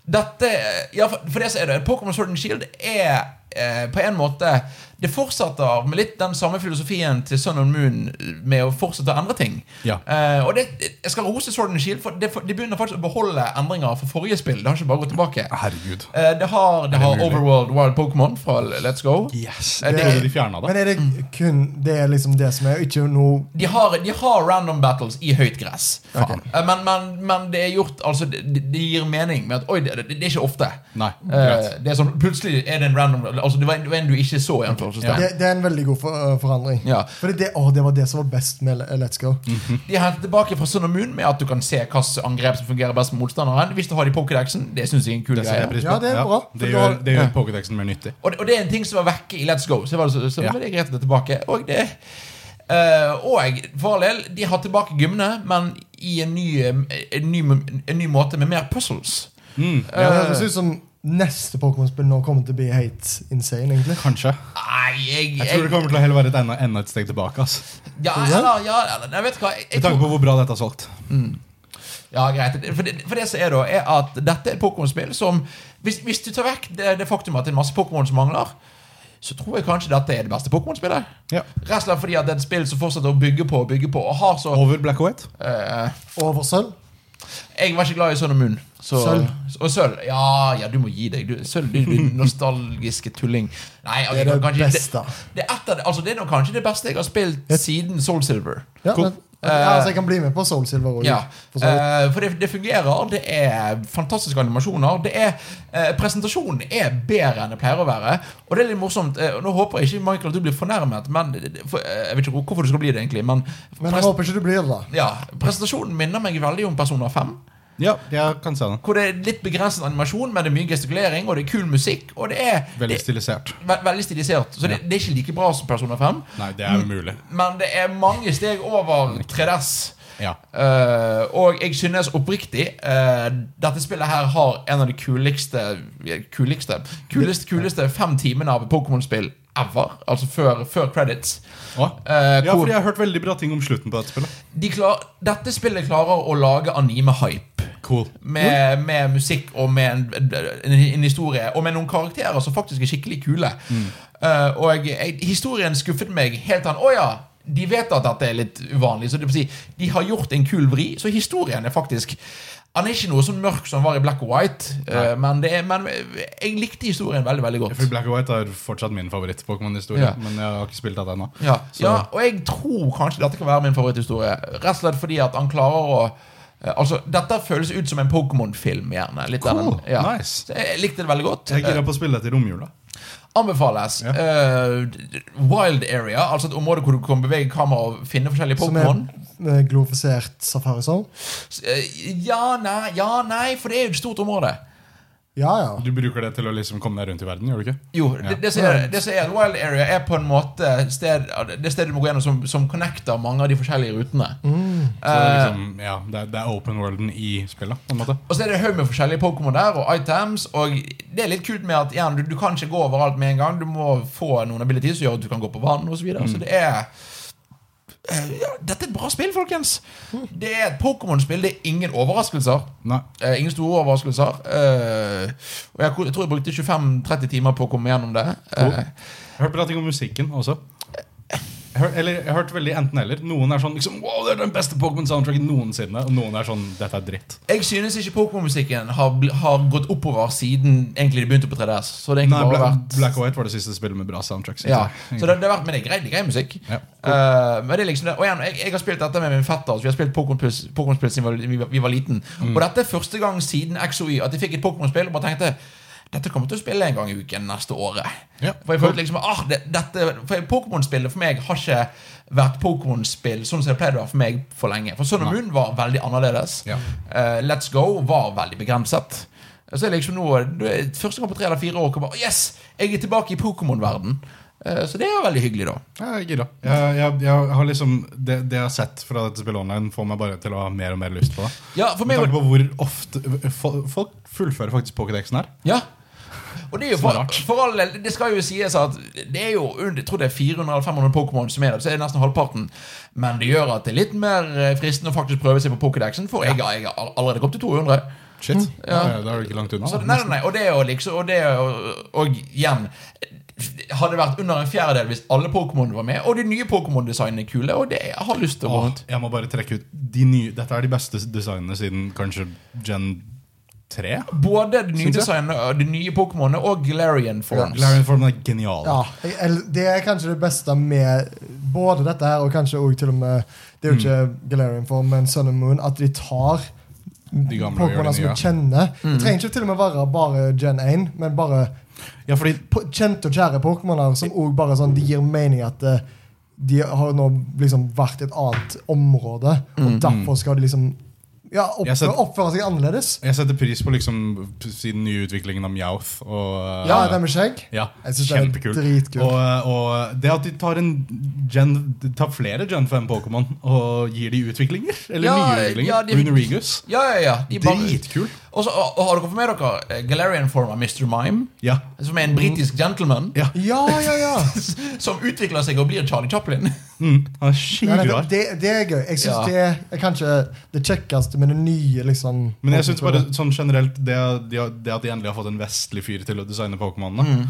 Speaker 1: Dette eh, Ja, for, for det så er det. Pokémon Sword and Shield er eh, på en måte Det fortsetter med litt den samme filosofien til Sun and Moon eh, med å fortsette å endre ting.
Speaker 2: Ja.
Speaker 1: Eh, og det, jeg skal rose Sword and Shield, for det, for de begynner faktisk å beholde endringer fra forrige spill. Det har ikke bare gått tilbake.
Speaker 2: Herregud.
Speaker 1: Eh, det har, det
Speaker 2: det
Speaker 1: har
Speaker 2: mulig?
Speaker 1: Overworld Wild Pokémon fra Let's Go.
Speaker 2: Yes.
Speaker 1: Eh,
Speaker 2: Jeg
Speaker 1: det-
Speaker 2: trodde de fjerna det.
Speaker 3: Men er
Speaker 1: Mm.
Speaker 3: det kun det er liksom det som er, og ikke noe
Speaker 1: De har, de har random battles i høyt gress.
Speaker 2: Faen.
Speaker 1: Eh, Men, men, men det er gjort Altså, det, det- det gir mening med at Oi, det, det, det er ikke ofte.
Speaker 2: Nei,
Speaker 1: Eh,
Speaker 2: greit.
Speaker 1: det er sånn, plutselig er det en random Altså, det var en, det var en du ikke så. i anførselstegn.
Speaker 3: det, det er en veldig god for, øh, forandring.
Speaker 1: Ja. Mm.
Speaker 3: Fordi det, å, det var det som var best med Le- Let's Go.
Speaker 1: De har hentet tilbake fra Sun og Moon med at du kan se hvilke angrep som fungerer best med motstanderen. Hvis du har de i Pokédexen. Det synes jeg er en kul
Speaker 2: Det setter jeg
Speaker 1: greie.
Speaker 2: pris på.
Speaker 3: Ja, det er bra.
Speaker 2: Det
Speaker 3: For
Speaker 2: gjør,
Speaker 3: da-
Speaker 2: det gjør
Speaker 1: ja.
Speaker 2: Pokédexen mer nyttig.
Speaker 1: Og det, og det er en ting som var vekke i Let's Go. Så var det, så, så
Speaker 2: Ja.
Speaker 1: var det greit at det er tilbake. Og det eh, Og for all del, de har tilbake gymmene, men i en ny, eh, en ny, en ny måte med mer puzzles.
Speaker 3: Ja, det
Speaker 1: Eh.
Speaker 3: høres ut som neste Pokémon-spill nå kommer til å bli helt insane, egentlig.
Speaker 2: Kanskje.
Speaker 1: Nei, jeg,
Speaker 2: Jeg tror det kommer til å heller være et enda, enda et steg tilbake. ass.
Speaker 1: Ja,
Speaker 3: Tror du det?
Speaker 1: eller, ja, eller Jeg vet hva jeg, jeg
Speaker 2: Med tanke
Speaker 1: tror,
Speaker 2: på hvor bra dette har solgt.
Speaker 1: ja, greit. For det, for det som er da, er at dette er et Pokémon-spill som hvis, hvis du tar vekk det, det faktum at det er masse Pokémon som mangler, så tror jeg kanskje dette er det beste Pokémon-spillet.
Speaker 2: Ja.
Speaker 1: Rett og slett fordi at det er et spill som fortsetter å bygge på og bygge på. Og har så
Speaker 2: Over Black and White.
Speaker 1: eh,
Speaker 3: Over sølv.
Speaker 1: Jeg var ikke glad i Sønn og Munn. Så,
Speaker 3: Sølv.
Speaker 1: Og sølv. Ja, ja, du må gi deg. Du, sølv, du, du nostalgiske tulling. Nei, ok,
Speaker 3: Det er det
Speaker 1: kanskje,
Speaker 3: beste.
Speaker 1: Det, det, er et av det- altså, det er nok kanskje det beste jeg har spilt siden Soul Silver.
Speaker 3: Ja,
Speaker 2: Cool.
Speaker 3: men, ja, altså, jeg kan bli med på Soul Silver òg.
Speaker 1: Eh. Ja, eh, for det, det fungerer. Det er fantastiske animasjoner. Det er, eh, presentasjonen er bedre enn det pleier å være. Og det er litt morsomt. eh, og nå håper jeg ikke Michael at du blir fornærmet, men det- det- for, eh, jeg vet ikke hvorfor du skal bli det, egentlig. Men,
Speaker 3: Men jeg
Speaker 1: pres-
Speaker 3: håper ikke du blir det, da.
Speaker 1: ja, presentasjonen minner meg veldig om Personer 5.
Speaker 2: Ja, jeg kan se den.
Speaker 1: Hvor det er litt begrenset animasjon, men det er mye gestikulering, og det er kul musikk. Og det er
Speaker 2: Veldig
Speaker 1: det,
Speaker 2: stilisert.
Speaker 1: ve veldig stilisert. Så det, det er ikke like bra som Personer 5,
Speaker 2: Nei, det er umulig.
Speaker 1: men det er mange steg over 3DS.
Speaker 2: Ja.
Speaker 1: Eh, og jeg synes oppriktig eh, Dette spillet her har en av de kuleste Kuleste Kuleste, kuleste fem timene av Pokémon-spill ever. Altså før, før credits.
Speaker 2: Å?
Speaker 1: Eh,
Speaker 2: Ja,
Speaker 1: hvor
Speaker 2: fordi jeg har hørt veldig bra ting om slutten på dette spillet.
Speaker 1: de klar, dette spillet klarer å lage anime-hype.
Speaker 2: Cool.
Speaker 1: Med, med musikk og med en, en, en historie, og med noen karakterer som faktisk er skikkelig kule. Eh, og jeg, historien skuffet meg helt an. Å ja, de vet at dette er litt uvanlig. Så det vil si, de har gjort en kul vri, så historien er faktisk Han er ikke noe så mørk som han var i Black and White, eh, men, det er, men jeg likte historien veldig, veldig godt.
Speaker 2: For Black and White er fortsatt min favoritt-Pokémon-historie.
Speaker 1: Ja.
Speaker 2: Men jeg har ikke spilt dette ennå.
Speaker 1: Ja,
Speaker 2: Så-
Speaker 1: ja, og jeg tror kanskje dette kan være min favoritthistorie. Rett og slett fordi at han klarer å eh, Altså, Dette føles ut som en Pokémon-film. gjerne Litt av den-
Speaker 2: Cool, nice.
Speaker 1: Så jeg likte det veldig godt.
Speaker 2: Jeg er gira på å spille dette i romjula.
Speaker 1: Eh, Anbefales.
Speaker 2: Ja.
Speaker 1: Eh, wild area, altså et område hvor du kan bevege kamera og finne forskjellige
Speaker 3: Som er
Speaker 1: Pokémon.
Speaker 3: eh, glorifisert Safari Soul.
Speaker 1: Eh, ja, nei, ja, nei, for det er jo et stort område.
Speaker 3: Ja, ja.
Speaker 2: Du bruker det til å liksom komme deg rundt i verden, gjør du ikke?
Speaker 1: Jo,
Speaker 2: Ja.
Speaker 1: det, det, som er, det som er at Wild Area er på en måte sted, det stedet du må gå gjennom som, som connecter mange av de forskjellige rutene.
Speaker 2: Så det
Speaker 1: Eh,
Speaker 2: er liksom, ja, det er, det er open worlden i spillet, på en måte.
Speaker 1: Og så er det en haug med forskjellige Pokémon der og items. Og det er litt kult med at igjen, du, du kan ikke gå overalt med en gang. Du må få noen abilities som gjør at du kan gå på vann osv. Så, videre. så det er eh, ja, Dette er et bra spill, folkens! Det er et Pokémon-spill. Det er ingen overraskelser.
Speaker 2: Nei.
Speaker 1: Eh, ingen store overraskelser. Eh, og jeg, tror jeg brukte 25-30 timer på å komme gjennom det. Eh,
Speaker 2: Jeg hørte bra ting om musikken også. Jeg hør, eller, jeg hørte veldig enten-eller. Noen er sånn liksom, wow, det er den beste Pokémon-soundtracken noensinne. Og noen er sånn dette er dritt.
Speaker 1: jeg synes ikke Pokémon-musikken har, bl- har gått oppover siden egentlig de begynte på 3DS. Så det er
Speaker 2: Nei,
Speaker 1: egentlig bare
Speaker 2: Black,
Speaker 1: vært
Speaker 2: Black and White var det siste spillet med bra soundtrack. synes
Speaker 1: Ja,
Speaker 2: jeg.
Speaker 1: liksom. så det, det har vært, Men det er grei, det er grei musikk.
Speaker 2: Ja.
Speaker 1: Eh, men det er liksom det. Og igjen, jeg, jeg har spilt dette med min fetter. Så vi har spilt Pokémon-spill
Speaker 2: Mm.
Speaker 1: Pokémon-spill siden vi var, vi, var- vi var liten Og dette er første gang siden XOY at jeg fikk et Pokémon-spill og bare tenkte dette kommer jeg til å spille en gang i uken neste året.
Speaker 2: Ja.
Speaker 1: For jeg følte liksom, ah, det, dette, for Pokémon-spillet for meg har ikke vært Pokémon-spill sånn som det pleide å være for meg for lenge. For Sun og
Speaker 2: Nei.
Speaker 1: Moon var veldig annerledes.
Speaker 2: Ja.
Speaker 1: Eh, Let's Go var veldig begrenset. Så jeg liksom nå, det- Første gang på tre eller fire år kommer Yes! Jeg er tilbake i Pokémon-verden. Eh, Så det er jo veldig hyggelig, da.
Speaker 2: Jeg er gira. Jeg, jeg, jeg har liksom, det, det jeg har sett fra dette spillet online, får meg bare til å ha mer og mer lyst på det.
Speaker 1: Ja, for
Speaker 2: Med
Speaker 1: meg var
Speaker 2: tanke på hvor ofte fo- Folk fullfører faktisk Pokédexen her.
Speaker 1: Ja. Og det er jo
Speaker 2: Som er
Speaker 1: for,
Speaker 2: rart.
Speaker 1: for all del, det skal jo sies at det er jo under, jeg tror det er 400 eller 500 Pokémon som er der, så er det nesten halvparten. Men det gjør at det er litt mer eh, fristende å faktisk prøve seg på Pokédexen, for jeg, jeg har all- allerede kommet til 200.
Speaker 2: Shit,
Speaker 1: Mm, Ja.
Speaker 2: da, er- da er du ikke langt unna.
Speaker 1: Så,
Speaker 2: da.
Speaker 1: nei, nei, nei, og det er jo liksom Og, det er jo, og igjen Hadde det vært under en fjerdedel hvis alle Pokémon var med, og de nye Pokémon-designene er kule, og det jeg har lyst til å gå
Speaker 2: Åh,
Speaker 1: rundt.
Speaker 2: jeg må bare trekke ut de nye, Dette er de beste designene siden kanskje Gen 3?
Speaker 1: Både de nye
Speaker 2: Synes jeg.
Speaker 1: designene, og de nye Pokémonene og Galarian Forms.
Speaker 2: Larian Form er genial.
Speaker 3: Ja, jeg, el- det er kanskje det beste med både dette her og kanskje også til og med Det er
Speaker 2: Mm.
Speaker 3: jo ikke Galarian Form, men Sun and Moon. At de tar
Speaker 2: De gamle og gjør
Speaker 3: Pokémoner
Speaker 2: de
Speaker 3: som
Speaker 2: nye. Mm.
Speaker 3: vi kjenner. Det trenger ikke til og med være bare Gen 1, men bare
Speaker 2: Ja, fordi
Speaker 3: po- kjente og kjære Pokémoner som også bare sånn, de gir mening at eh, de har nå liksom vært i et annet område, og derfor skal de liksom ja,
Speaker 2: Mm, Jeg
Speaker 3: oppføre,
Speaker 2: ser-
Speaker 3: oppføre seg annerledes.
Speaker 2: jeg setter pris på liksom siden nye utviklingen av Mjauth. Og, eh,
Speaker 3: Ja, det med skjegg.
Speaker 2: Ja,
Speaker 3: Jeg synes den er
Speaker 2: kjempekul.
Speaker 3: dritkul.
Speaker 2: Og, eh, og det at de tar, en gen, de tar flere Gen 5-Pokémon og gir de utviklinger. Eller
Speaker 1: Ja,
Speaker 2: nye utviklinger.
Speaker 1: ja, de-
Speaker 2: Runorigus.
Speaker 1: Ja, ja, ja. De bare,
Speaker 2: Dritkul.
Speaker 1: og, så, og, og har dere fått med dere eh, Galarian Form av Mr. Mime?
Speaker 2: Ja.
Speaker 1: Som er en britisk gentleman
Speaker 2: Mm. Ja.
Speaker 3: Ja, ja, ja!
Speaker 1: [laughs]
Speaker 2: [laughs]
Speaker 1: som utvikler seg og blir Charlie Chaplin.
Speaker 2: Mm, han er
Speaker 3: Nei, nei,
Speaker 2: skikkelig rar.
Speaker 3: det, det er gøy.
Speaker 1: Ja.
Speaker 3: Jeg synes det er kanskje det kjekkeste med det nye. liksom
Speaker 2: Men jeg synes bare sånn generelt det, det, det at de endelig har fått en vestlig fyr til å designe Pokémonene
Speaker 3: Mm.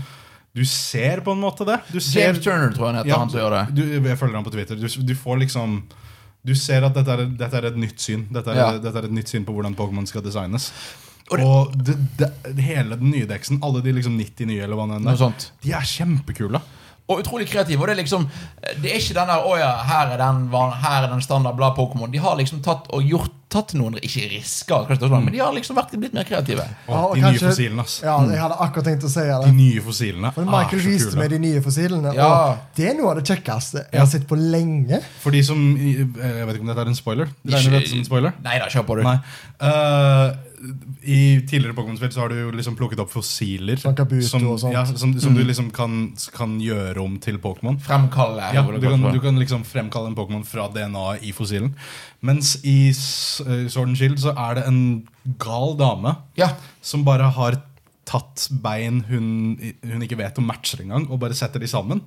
Speaker 2: Du ser på en måte det. Du ser,
Speaker 1: James Turner, tror jeg han heter.
Speaker 2: Ja,
Speaker 1: han som gjør det
Speaker 2: Du, jeg følger ham på Twitter. Du, du får liksom du ser at dette er, dette er et nytt syn Dette er,
Speaker 1: Ja.
Speaker 2: dette er et nytt syn på hvordan Pokémon skal designes.
Speaker 1: Og
Speaker 2: Og,
Speaker 1: det-
Speaker 2: det, det, hele den nye deksen, alle de liksom 90 nye, eller hva det enn
Speaker 1: Noe
Speaker 2: er,
Speaker 1: sånt.
Speaker 2: de er kjempekule.
Speaker 1: Og utrolig kreativ. Og det er liksom Det er ikke den der 'Å ja, her er den, van- her er den standard bla Pokémon'. De har liksom tatt og gjort Tatt noen Ikke risker, kanskje det
Speaker 2: Mm.
Speaker 1: er sånn, men de har liksom vært litt mer kreative.
Speaker 2: Og de nye fossilene, ass.
Speaker 3: Ja, jeg hadde akkurat tenkt å si
Speaker 2: De
Speaker 3: det.
Speaker 2: nye fossilene
Speaker 3: For Michael
Speaker 2: er så
Speaker 3: viste
Speaker 2: kule.
Speaker 3: meg de nye fossilene,
Speaker 1: Ja.
Speaker 3: og det er noe av det kjekkeste jeg har sett på lenge.
Speaker 2: For de som eh, Jeg vet ikke om dette er en spoiler. Regner dette som en spoiler?
Speaker 1: Nei da, kjør på, du.
Speaker 2: Nei. Eh, I tidligere Pokémon-spill så har du jo liksom plukket opp fossiler.
Speaker 3: Sånn Kabuto og sånt. Mm.
Speaker 2: ja, som, som du liksom kan, kan gjøre om til Pokémon.
Speaker 1: Fremkalle.
Speaker 2: Ja,
Speaker 1: hvor det
Speaker 2: du,
Speaker 1: går
Speaker 2: kan,
Speaker 1: fra.
Speaker 2: du kan liksom fremkalle en Pokémon fra DNA i fossilen. Mens i S- eh, Sword and Shield så er det en gal dame
Speaker 1: ja.
Speaker 2: som bare har tatt bein hun, hun ikke vet om matcher engang, og bare setter de sammen.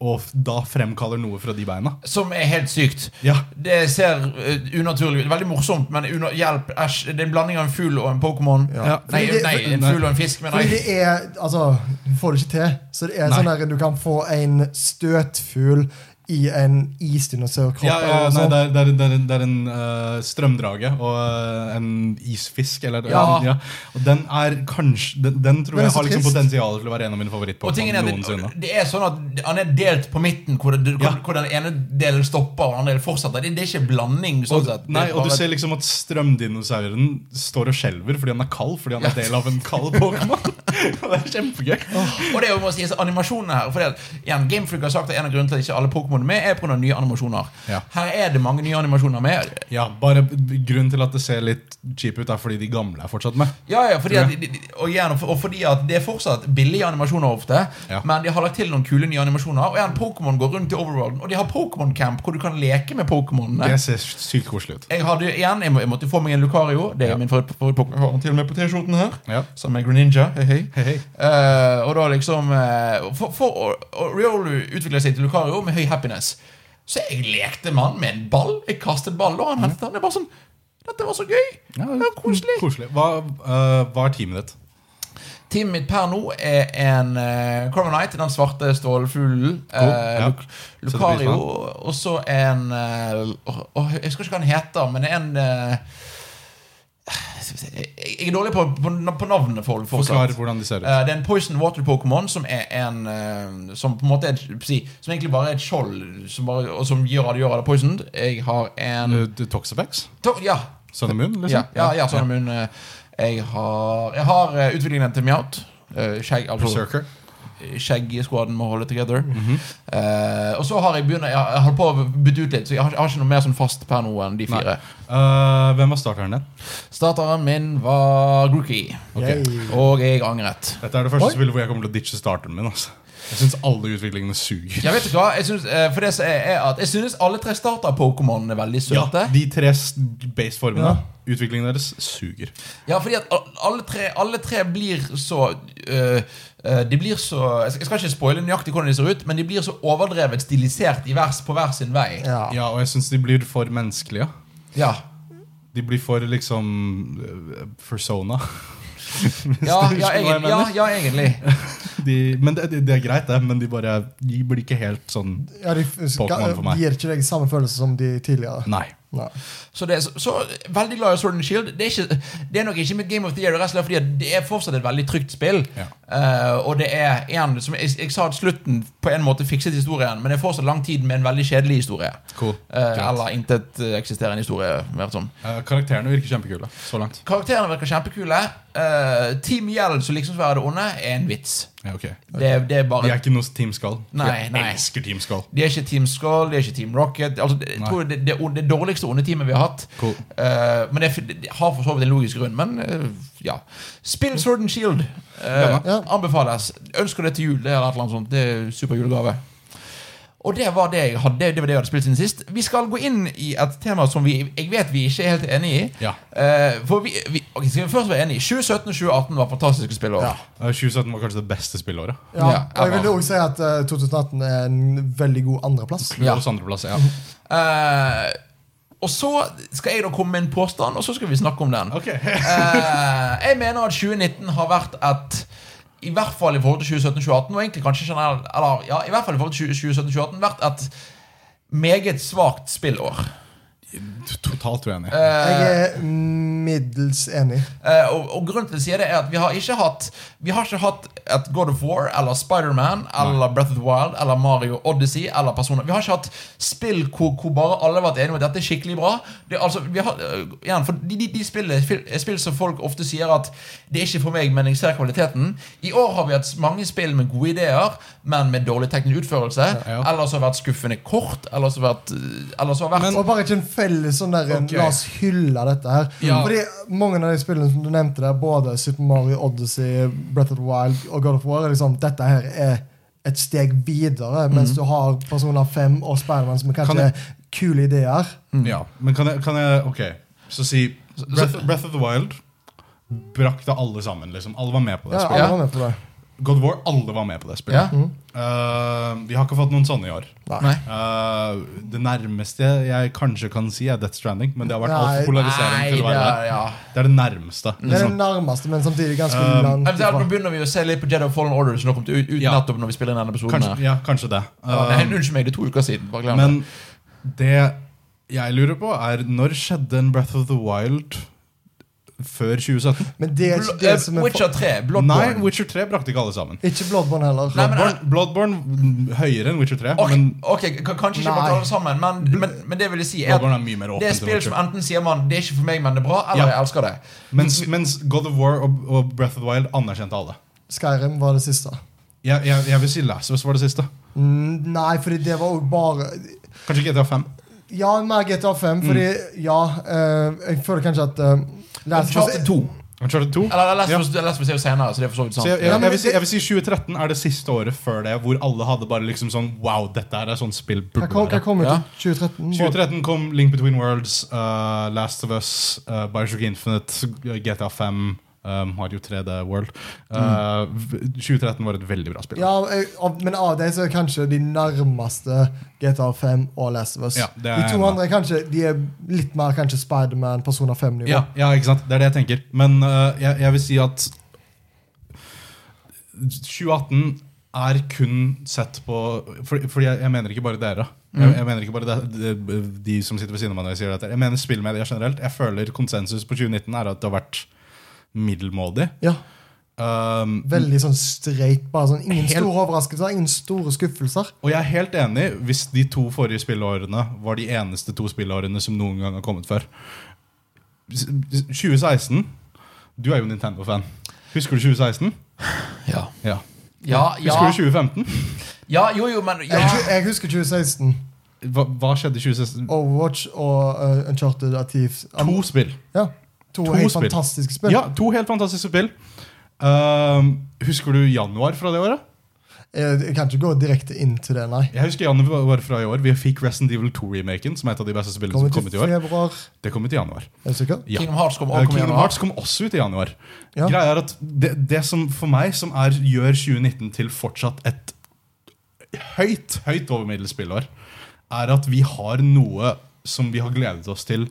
Speaker 2: Og f- da fremkaller noe fra de beina.
Speaker 1: Som er helt sykt.
Speaker 2: Ja,
Speaker 1: Det ser eh, unaturlig ut. Veldig morsomt, men una hjelp, æsj. Det er en blanding av en fugl og en Pokémon.
Speaker 2: Ja.
Speaker 1: Nei,
Speaker 3: Fordi det-
Speaker 1: nei, en
Speaker 2: Nei.
Speaker 1: fugl og en fisk, mener jeg.
Speaker 3: Fordi det er Altså, du får det ikke til. Så det er
Speaker 2: Nei.
Speaker 3: sånn der du kan få en støtfugl i en isdinosaurkropp. Altså,
Speaker 2: Ja, ja,
Speaker 3: eller noe
Speaker 2: nei,
Speaker 1: sånn.
Speaker 3: sånt.
Speaker 2: det, er, det, er, det, er, det er en eh, strømdrage og eh, en isfisk. Eller, [laughs]
Speaker 1: Ja.
Speaker 2: Og den er kanskje Den, den tror
Speaker 3: Den er
Speaker 2: jeg
Speaker 3: så
Speaker 2: har liksom
Speaker 3: trist.
Speaker 2: potensial til å være en av mine
Speaker 1: Og tingen
Speaker 2: favorittpokémon
Speaker 1: er,
Speaker 2: noensinne.
Speaker 1: at det er sånn at Han er delt på midten, hvor, det, hvor,
Speaker 2: Ja.
Speaker 1: hvor den ene delen stopper og den andre delen fortsetter. Det, det er ikke blanding. sånn
Speaker 2: Og,
Speaker 1: sett. Det er
Speaker 2: nei, og du
Speaker 1: bare-
Speaker 2: ser liksom at strømdinosauren står og skjelver fordi han er kald. Fordi han er del av en [laughs] kald Pokémon. det er kjempegøy.
Speaker 1: Og det er jo bare å si så animasjonene her Fordi at, igjen, Gamefreak har sagt at en av grunnene til at ikke alle Pokémon er med, er pga. nye animasjoner.
Speaker 2: Ja.
Speaker 1: Her er det mange nye animasjoner med.
Speaker 2: Ja, bare Grunnen til at det ser litt cheap ut, er fordi de gamle er fortsatt med.
Speaker 1: Ja, ja, fordi
Speaker 2: Tror
Speaker 1: at,
Speaker 2: jeg.
Speaker 1: de- de- og, igjen, og fordi at det er fortsatt billige animasjoner ofte,
Speaker 2: Ja.
Speaker 1: men de har lagt til noen kule nye animasjoner. Og igjen, Pokémon går rundt i overworlden, og de har Pokémon Camp, hvor du kan leke med
Speaker 2: Det
Speaker 1: Pokémonene.
Speaker 2: ser sykt koselig ut.
Speaker 1: Jeg hadde jo igjen, jeg, må, jeg måtte få meg en Lucario. Det er
Speaker 2: Ja.
Speaker 1: min favoritt favoritt Pokémon. Jeg har den til og med på T-skjorten her.
Speaker 2: Ja.
Speaker 1: Som er Greninja. Hei, hei.
Speaker 2: Hei, hei.
Speaker 1: Eh, og da liksom eh, For, for og, og Riolu utvikler seg til Lucario med høy happiness. Så jeg lekte med han med en ball. Jeg kastet ball, og han hentet den. Det er bare sånn Dette var så gøy!
Speaker 2: Ja,
Speaker 1: det var koselig.
Speaker 2: Hva, eh, hva er teamet ditt?
Speaker 1: Teamet mitt per nå er en uh, Cormonite, den svarte stålfuglen. eh,
Speaker 2: Cool, ja.
Speaker 1: Lu- Lucario, og så en eh, åh, åh, Jeg husker ikke hva han heter, men det er en eh, skal vi se, jeg, jeg er dårlig på, på, på navnene for fortsatt.
Speaker 2: Forklar hvordan de ser ut.
Speaker 1: Eh, det er en Poison Water Pokémon som er en eh, Som på en måte er et- si, Som egentlig bare er et skjold, som bare, og som gjør at det gjør at det er poisoned. Jeg har en
Speaker 2: Eh, du- Toxapex?
Speaker 1: to, Ja,
Speaker 2: Sun and Moon, liksom?
Speaker 1: ja, ja, ja sånn er min, eh, Jeg har, jeg har eh, utviklingen til Mjaut. Eh, skjegg, altså,
Speaker 2: Berserker.
Speaker 1: Skjeggskvaden må holde together.
Speaker 2: Mhm.
Speaker 1: Eh, og så har jeg begynt Jeg har jeg har holdt på å bytte ut litt, så jeg har, jeg har ikke noe mer sånn fast per nå enn de
Speaker 2: Nei.
Speaker 1: fire.
Speaker 2: Eh, hvem var starteren din?
Speaker 1: Starteren min var Grookie,
Speaker 2: Ok.
Speaker 3: Yay.
Speaker 1: og jeg angret.
Speaker 2: Dette er det første
Speaker 3: Oi.
Speaker 2: spillet hvor jeg kommer til å ditche starteren min. Altså. Jeg syns alle utviklingene suger.
Speaker 1: Ja, vet du hva? Jeg synes, eh, for det som er, er at Jeg synes alle tre starter-pokémonene er veldig søte. Ja.
Speaker 2: De tre s- base-formene,
Speaker 3: Ja.
Speaker 2: utviklingen deres, suger.
Speaker 1: fordi at al- alle tre, alle tre blir så eh, eh, De blir så Jeg skal- jeg skal ikke spoile nøyaktig hvordan de ser ut, men de blir så overdrevet stilisert i vers på hver sin vei.
Speaker 3: Ja.
Speaker 2: Ja, og jeg syns de blir for menneskelige. [laughs]
Speaker 1: Ja,
Speaker 2: De blir for liksom eh, persona.
Speaker 1: ja,
Speaker 2: [laughs] Hvis du
Speaker 1: ja,
Speaker 2: skjønner hva jeg
Speaker 1: egentlig, ja, ja egentlig.
Speaker 2: De, men det, det er greit, det, men de, bare, de blir ikke helt sånn
Speaker 3: Ja, de, f- skal,
Speaker 2: Pokémon for meg.
Speaker 3: de gir ikke deg samme følelse som de tidligere.
Speaker 2: Nei.
Speaker 3: Nei.
Speaker 1: Så, det, er så, så veldig glad i Sword and Shield. Det er, ikke, det er nok ikke mitt Game of the Year, rett og slett fordi at det er fortsatt et veldig trygt spill.
Speaker 2: Ja.
Speaker 1: Eh, og det er en, som jeg, jeg sa at slutten på en måte fikset historien, men det er fortsatt lang tid med en veldig kjedelig historie.
Speaker 2: Cool.
Speaker 1: Eh,
Speaker 2: Greit.
Speaker 1: eller intet eh, eksisterende historie. Mer sånn.
Speaker 2: Eh, karakterene virker kjempekule så langt.
Speaker 1: Karakterene virker kjempekule. Eh, Team Yell, som liksom skal være det onde, er en vits.
Speaker 2: Ja, ok.
Speaker 1: Det, det er bare
Speaker 2: De er ikke noe Team Skull.
Speaker 1: Nei,
Speaker 2: jeg
Speaker 1: nei.
Speaker 2: elsker Team Skull.
Speaker 1: De er ikke Team Skull, de er ikke Team Rocket. Altså, det, jeg
Speaker 2: Nei.
Speaker 1: tror det, det, det dårligste onde teamet vi har hatt.
Speaker 2: Cool.
Speaker 1: Eh, men det, det har for så vidt en logisk grunn, men eh, ja. Spill Sword and Shield. eh,
Speaker 3: Ja.
Speaker 1: Anbefales. Ønsker det til jul. Det er, et eller annet sånt. Det er super julegave. Og det var det jeg hadde Det var det jeg hadde spilt siden sist. Vi skal gå inn i et tema som vi, jeg vet vi ikke er helt enig i.
Speaker 2: Ja.
Speaker 1: Eh, for vi, vi, ok, skal vi først være enige 2017 og 2018 var fantastiske spillår.
Speaker 3: Ja.
Speaker 2: Eh, 2017 var kanskje det beste spillåret.
Speaker 3: Ja,
Speaker 1: Ja,
Speaker 3: og jeg
Speaker 1: jeg
Speaker 3: vil
Speaker 1: var-
Speaker 3: også si at eh, 2018 er en veldig god andreplass.
Speaker 1: Ja.
Speaker 2: Årets andreplass, ja.
Speaker 1: Eh, og så skal jeg da komme med en påstand, og så skal vi snakke om den.
Speaker 2: Ok.
Speaker 1: Eh, jeg mener at 2019 har vært et I hvert fall i forhold til 2017-2018, og egentlig kanskje generelt Eller ja, i hvert fall i forhold til 2017-2018 vært et meget svakt spillår.
Speaker 2: [laughs] Totalt uenig.
Speaker 3: Jeg er middels enig.
Speaker 1: Eh, og, og grunnen til å si det er at vi har ikke hatt Vi har ikke hatt et God of War eller Spiderman eller Breath of the Wild eller Mario Odyssey eller Persona. Vi har ikke hatt spill hvor, hvor bare alle har vært enige om at dette er skikkelig bra. Det, er altså, vi har, øh, igjen, for de, de, de spillene er fil- er spill som folk ofte sier at det er ikke for meg, men jeg ser kvaliteten. I år har vi hatt mange spill med gode ideer, men med dårlig teknisk utførelse.
Speaker 2: Ja, ja.
Speaker 1: Eller som har vært skuffende kort, eller som har vært, øh, eller som har vært
Speaker 2: Men-
Speaker 3: Og bare ikke en felles sånn der
Speaker 2: Ok.
Speaker 3: La oss hylle dette her.
Speaker 2: Ja.
Speaker 3: Fordi mange av de spillene som du nevnte der, både Super Mario, Odyssey, Breath of the Wild og God of War, er liksom, dette her er et steg videre, mens du har personer 5 og Spiderman som er
Speaker 2: Kan
Speaker 3: kanskje
Speaker 2: jeg-
Speaker 3: kule ideer.
Speaker 2: Ja, men kan jeg, kan jeg Ok, så si Breath, Breath of the Wild brakte alle sammen. liksom Alle var med på det
Speaker 3: Ja,
Speaker 2: spillet.
Speaker 3: alle var med på det.
Speaker 2: God of War, alle var med på det
Speaker 1: ja?
Speaker 2: spillet. Eh, vi har ikke fått noen sånne i år.
Speaker 1: Nei.
Speaker 2: Eh, det nærmeste jeg kanskje kan si, er Death Stranding. Men det har vært
Speaker 3: Nei.
Speaker 2: altfor polarisering til å
Speaker 1: det
Speaker 2: være
Speaker 1: er,
Speaker 2: der.
Speaker 1: ja.
Speaker 2: Det er det nærmeste.
Speaker 3: Det er
Speaker 2: Liksom.
Speaker 3: det nærmeste, men samtidig ganske
Speaker 2: Um,
Speaker 3: langt
Speaker 1: Eventuelt nå
Speaker 3: ifra.
Speaker 1: begynner vi å se litt på Jedi of Fallen Order som nå kom til ut, ut
Speaker 2: Ja.
Speaker 1: nettopp når vi spiller inn denne episoden.
Speaker 2: Kanskje,
Speaker 1: her.
Speaker 2: ja, kanskje det.
Speaker 1: Ja,
Speaker 2: Eh,
Speaker 1: nei, unnskyld meg, det er to uker siden. Bare glem det.
Speaker 2: Men det jeg lurer på, er når skjedde en Breath of the Wild før 2017?
Speaker 3: Men det er
Speaker 1: Bl-
Speaker 3: ikke det
Speaker 1: eh,
Speaker 3: som er
Speaker 1: Witcher 3,
Speaker 2: Nei,
Speaker 1: Bloodborne.
Speaker 2: Witcher 3 brakte ikke alle sammen.
Speaker 3: Ikke Bloodborne heller.
Speaker 1: Nei, men-
Speaker 2: Bloodborne, Bloodborne mm, høyere enn Witcher 3,
Speaker 1: Ok,
Speaker 2: men
Speaker 1: ok, k- kanskje ikke
Speaker 3: Nei.
Speaker 1: bare alle sammen, men, men, men det vil jeg si er at
Speaker 2: Bloodborne er mye
Speaker 1: det
Speaker 2: mer
Speaker 1: er
Speaker 2: åpent enn
Speaker 1: spill som
Speaker 2: Witcher.
Speaker 1: enten sier man 'det er ikke for meg, men det er bra', eller
Speaker 2: Ja.
Speaker 1: 'jeg elsker det'.
Speaker 2: Mens, mens God of War og, og Breath of the Wild anerkjente alle.
Speaker 3: Skyrim var det siste.
Speaker 2: Jeg, jeg, jeg vil si Last of Us var det siste.
Speaker 3: Mm, Nei, fordi det var jo bare
Speaker 2: Kanskje GTA 5.
Speaker 3: Ja, mer GTA 5, fordi
Speaker 2: Mm.
Speaker 3: ja eh, Jeg føler kanskje at eh, Last of Us-
Speaker 1: Uncharted 2.
Speaker 2: Uncharted 2.
Speaker 1: Altså, Eller Last
Speaker 2: Ja.
Speaker 1: of Us Last of Us er jo senere, så det er for så vidt
Speaker 2: Så jeg,
Speaker 1: sant.
Speaker 2: jeg,
Speaker 3: Ja,
Speaker 2: jeg,
Speaker 3: men
Speaker 2: vil si,
Speaker 3: det-
Speaker 2: jeg vil si 2013 er det siste året før det hvor alle hadde bare liksom sånn Wow, dette her er sånn spill
Speaker 3: Hva kom,
Speaker 2: burde
Speaker 3: hva
Speaker 2: være.
Speaker 3: kom ut
Speaker 1: Ja.
Speaker 3: i 2013?
Speaker 2: 2013 kom Link Between Worlds, uh, Last of Us, uh, Bioshock Infinite, GTA 5, um, Mario 3D World. Uh,
Speaker 1: Mm.
Speaker 2: v- 2013 var et veldig bra spill.
Speaker 3: Ja, jeg, av- men av dem så er kanskje de nærmeste GTA 5 og Last of Us.
Speaker 2: Ja, det er
Speaker 3: de to
Speaker 2: jeg
Speaker 3: andre er kanskje De er litt mer kanskje Spiderman, Persona 5-nivå.
Speaker 2: Ja, ja, ikke sant? Det er det jeg tenker. Men øh, jeg, jeg vil si at 2018 er kun sett på Fordi fordi jeg, jeg mener ikke bare dere. Jeg, jeg mener ikke bare de, de, de som sitter ved siden av meg når jeg sier dette. Jeg mener spillmedia generelt. Jeg føler konsensus på 2019 er at det har vært middelmådig.
Speaker 3: Ja,
Speaker 2: Um,
Speaker 3: Veldig sånn streit. Bare sånn, ingen
Speaker 2: Helt-
Speaker 3: store overraskelser, ingen store skuffelser.
Speaker 2: og jeg er helt enig hvis de to forrige spillårene var de eneste to spillårene som noen gang har kommet før. 2016 Du er jo Nintendo-fan. Husker du 2016?
Speaker 1: Ja.
Speaker 2: Ja.
Speaker 3: Ah,
Speaker 1: Ja, ja,
Speaker 2: Husker du 2015?
Speaker 1: ja, jo, jo, men ja.
Speaker 3: Jeg, jeg husker 2016.
Speaker 2: Hva, hva skjedde i 2016?
Speaker 3: Overwatch og uh, Uncharted er Thieves.
Speaker 2: To spill.
Speaker 3: Ja. To,
Speaker 2: to
Speaker 3: helt
Speaker 2: spill.
Speaker 3: fantastiske spill.
Speaker 2: Ja, to helt fantastiske spill. Ehm, husker du januar fra det året?
Speaker 3: Jeg, jeg Eh, kan ikke gå direkte inn til det, nei.
Speaker 2: Jeg husker januar fra i år. Vi fikk Resident Evil 2-remaken, som er et av de beste spillene som kom
Speaker 3: Kommer til
Speaker 2: ut i år.
Speaker 3: februar.
Speaker 2: Det kom ut i januar.
Speaker 3: Er du sikker?
Speaker 2: Ja.
Speaker 1: Kingdom Hearts kom,
Speaker 2: Eh,
Speaker 1: også kom i
Speaker 2: Kingdom
Speaker 1: januar.
Speaker 2: Hearts kom også ut i januar.
Speaker 3: Ja.
Speaker 2: Greia er at det, det som for meg som er, gjør 2019 til fortsatt et høyt, høyt over middels spillår, er at vi har noe som vi har gledet oss til,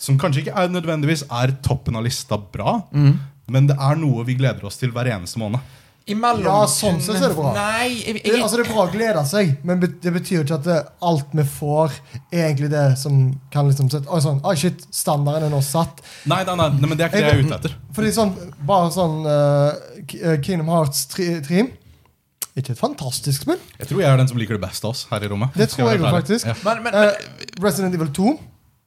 Speaker 2: som kanskje ikke er, nødvendigvis er toppen av lista bra,
Speaker 3: Mm.
Speaker 2: men det er noe vi gleder oss til hver eneste måned.
Speaker 1: Imellom
Speaker 3: Ja, sånn sett er det bra.
Speaker 1: Nei, jeg,
Speaker 3: Det,
Speaker 1: jeg,
Speaker 3: altså, det er bra å glede seg, men bet- det betyr ikke at det, alt vi får, er egentlig det som kan liksom sette Oi, sånn, oi shit, standarden er nå satt.
Speaker 2: Nei, nei, nei, nei men det er ikke det jeg er ute etter.
Speaker 3: Fordi sånn, Bare sånn eh, K- eh, Kingdom Hearts 3 Ikke et fantastisk spill.
Speaker 2: Jeg tror jeg er den som liker det best av oss her i rommet.
Speaker 3: Det
Speaker 2: Skal
Speaker 3: tror jeg
Speaker 2: være ærlig.
Speaker 3: faktisk.
Speaker 2: Ja.
Speaker 1: men, men,
Speaker 3: Eh, Resident Evil 2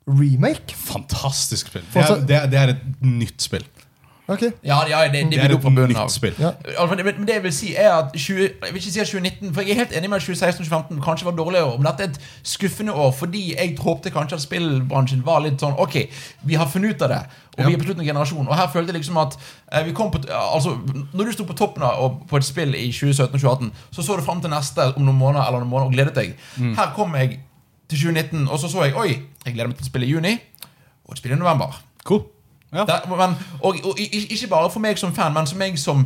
Speaker 3: remake.
Speaker 2: Fantastisk spill. Det er, det, er, det er et nytt spill.
Speaker 3: Ok,
Speaker 1: ja, ja, det, det
Speaker 2: Det
Speaker 1: vil
Speaker 2: er
Speaker 1: opp på
Speaker 2: et
Speaker 1: bunnen
Speaker 2: nytt
Speaker 1: av.
Speaker 2: spill.
Speaker 3: ja.
Speaker 1: Altså, Men, men det jeg vil si er at 20, Jeg vil ikke si at 2019, for jeg er helt enig med at 2016 og 2015 kanskje var dårlige år, men dette er et skuffende år fordi jeg håpte kanskje at spillbransjen var litt sånn Ok, vi har funnet ut av det, og vi er på slutten av generasjonen. Og her følte jeg liksom at eh, vi kom på t- Altså, når du sto på toppen av og på et spill i 2017 og 2018, så så du fram til neste om noen måneder eller noen måneder og gledet deg. Her kom jeg til 2019, og så så jeg Oi, jeg gleder meg til å spille i juni, og et spill i november.
Speaker 2: Cool. Ja.
Speaker 1: Der, men, og, og i- i- ikke bare for meg som fan, men som jeg som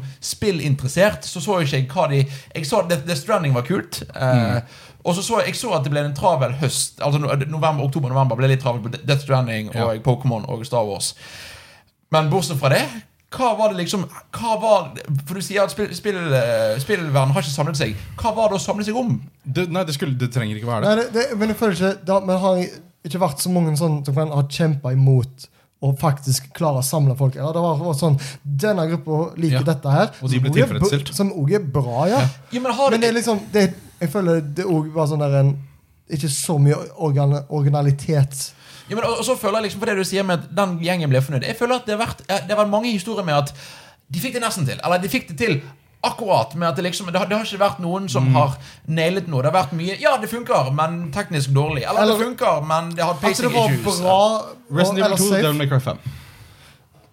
Speaker 1: spillinteressert, så så jo ikke jeg hva de Jeg så at Death Death Stranding var kult. eh,
Speaker 3: Mm.
Speaker 1: Og så så jeg, jeg så at det ble en travel høst. Altså no- november, Oktober november ble litt travel på Death Stranding og Pokémon og Star Wars. Men bortsett fra det hva var det liksom hva var, For du sier at spill, spill, eh, spillverden har ikke samlet seg. Hva var det å samle seg om?
Speaker 2: Det, nei, det, skulle, det trenger ikke være det.
Speaker 3: Nei, det, det, men jeg føler ikke da, Men har jeg ikke vært så mange sånne som kan ha kjempa imot og faktisk klare å samle folk. Eller, det var, var sånn, Denne gruppa liker
Speaker 2: Ja.
Speaker 3: dette her.
Speaker 2: Og de blir
Speaker 3: som også er b-
Speaker 2: tilfredsstilt.
Speaker 3: Som òg er bra, ja.
Speaker 1: Ja, men har
Speaker 3: Men det
Speaker 1: det,
Speaker 3: er liksom det, Jeg føler det òg var sånn der en Ikke så mye organ, originalitet.
Speaker 1: Ja, men og og så føler jeg liksom på det du sier med at den gjengen ble fornøyd. Jeg føler at det har vært, eh, det har vært mange historier med at de fikk det nesten til. Eller de fikk det til akkurat. Med at det liksom Det har, det har ikke vært noen som
Speaker 3: Mm.
Speaker 1: har nailet noe. Det har vært mye Ja, det funker, men teknisk dårlig. Eller,
Speaker 3: Eller-
Speaker 1: det funker, men det har
Speaker 3: At Altså, det
Speaker 1: pacing
Speaker 3: var
Speaker 1: issues.
Speaker 3: bra og,
Speaker 2: Resident
Speaker 3: eller
Speaker 2: Evil 2 Devil
Speaker 3: safe.
Speaker 2: May Cry 5.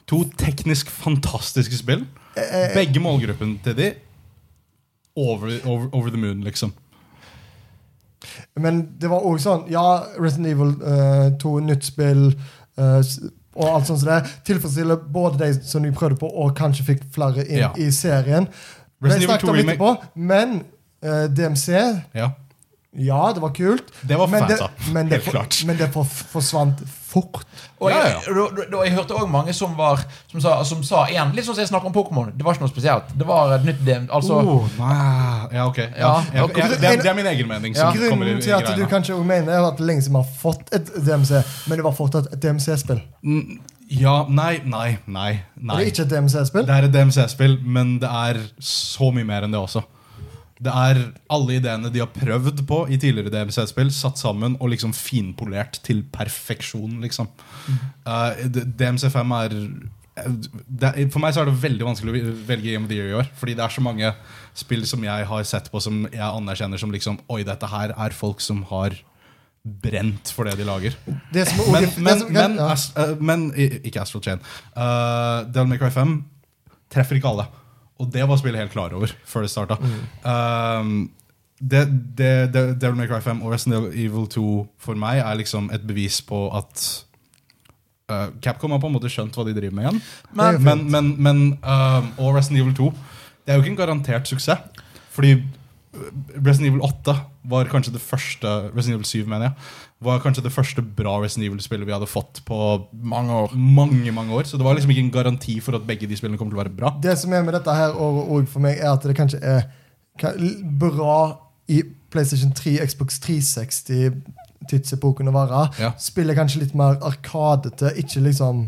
Speaker 2: To teknisk fantastiske spill.
Speaker 3: Eh,
Speaker 2: Begge målgruppen til de over, over, over the moon, liksom.
Speaker 3: Men det var òg sånn Ja, Resident Evil eh, 2, nytt spill eh, s- og alt sånt som det. Tilfredsstille både de som de prøvde på, og kanskje fikk flere inn
Speaker 2: Ja.
Speaker 3: i serien. Det
Speaker 2: Resident Evil
Speaker 3: snakket
Speaker 2: 2
Speaker 3: om
Speaker 2: remake-
Speaker 3: etterpå, men eh, DMC
Speaker 2: Ja.
Speaker 3: Ja, det var kult.
Speaker 2: Det var for
Speaker 3: men
Speaker 2: fans, da.
Speaker 3: men det,
Speaker 2: Helt klart.
Speaker 3: Men det for, forsvant fort.
Speaker 1: Og jeg,
Speaker 2: Ja,
Speaker 1: da- da- da- jeg hørte òg mange som var Som sa, som sa igjen Litt sånn som jeg snakker om Pokémon. Det var ikke noe spesielt. Det var et nytt DM. Altså
Speaker 2: oh, nei. ja, ok. Ja.
Speaker 1: Ja.
Speaker 2: Jeg, jeg, det, er- det er min egen mening. Som kommer i,
Speaker 3: Grunnen
Speaker 2: i
Speaker 3: til at du
Speaker 2: greiene.
Speaker 3: kanskje også mener, er at det er lenge siden vi har fått et DMC, men det var fortsatt et DMC-spill.
Speaker 2: Ja, nei, nei, nei.
Speaker 3: Og
Speaker 2: nei.
Speaker 3: det er ikke et DMC-spill.
Speaker 2: Det er et DMC-spill, men det er så mye mer enn det også. Det er alle ideene de har prøvd på i tidligere DMC-spill, satt sammen og liksom finpolert til perfeksjon, liksom. Eh, D- DMC5 er eh, det, er- For meg så er det veldig vanskelig å velge Game of the Year i år. Fordi det er så mange spill som jeg har sett på som jeg anerkjenner som liksom Oi, dette her er folk som har brent for det de lager.
Speaker 3: Det som er
Speaker 2: Men,
Speaker 3: det
Speaker 2: men,
Speaker 3: som-
Speaker 2: men,
Speaker 3: ja.
Speaker 2: Ast- eh, men i- ikke Astral Chain. Uh, Devil May Cry 5 treffer ikke alle. Og det var spillet helt klar over før det starta.
Speaker 1: Mm.
Speaker 2: det, det, det, Devil May Cry 5 og Resident Evil 2 for meg er liksom et bevis på at eh, Capcom har på en måte skjønt hva de driver med igjen.
Speaker 3: Men-
Speaker 2: Men, men, men, eh, og Resident Evil 2 Det er jo ikke en garantert suksess. Fordi uh, Resident Evil 8 var kanskje det første Resident Evil 7 mener jeg var kanskje det første bra Resident Evil-spillet vi hadde fått på
Speaker 1: Mange år.
Speaker 2: mange mange år. Så det var liksom ikke en garanti for at begge de spillene kommer til å være bra.
Speaker 3: Det som er med dette her året òg for meg, er at det kanskje er ka- l- bra i PlayStation 3, Xbox 360 tidsepoken å være.
Speaker 2: Ja.
Speaker 3: Spiller kanskje litt mer arkadete, ikke liksom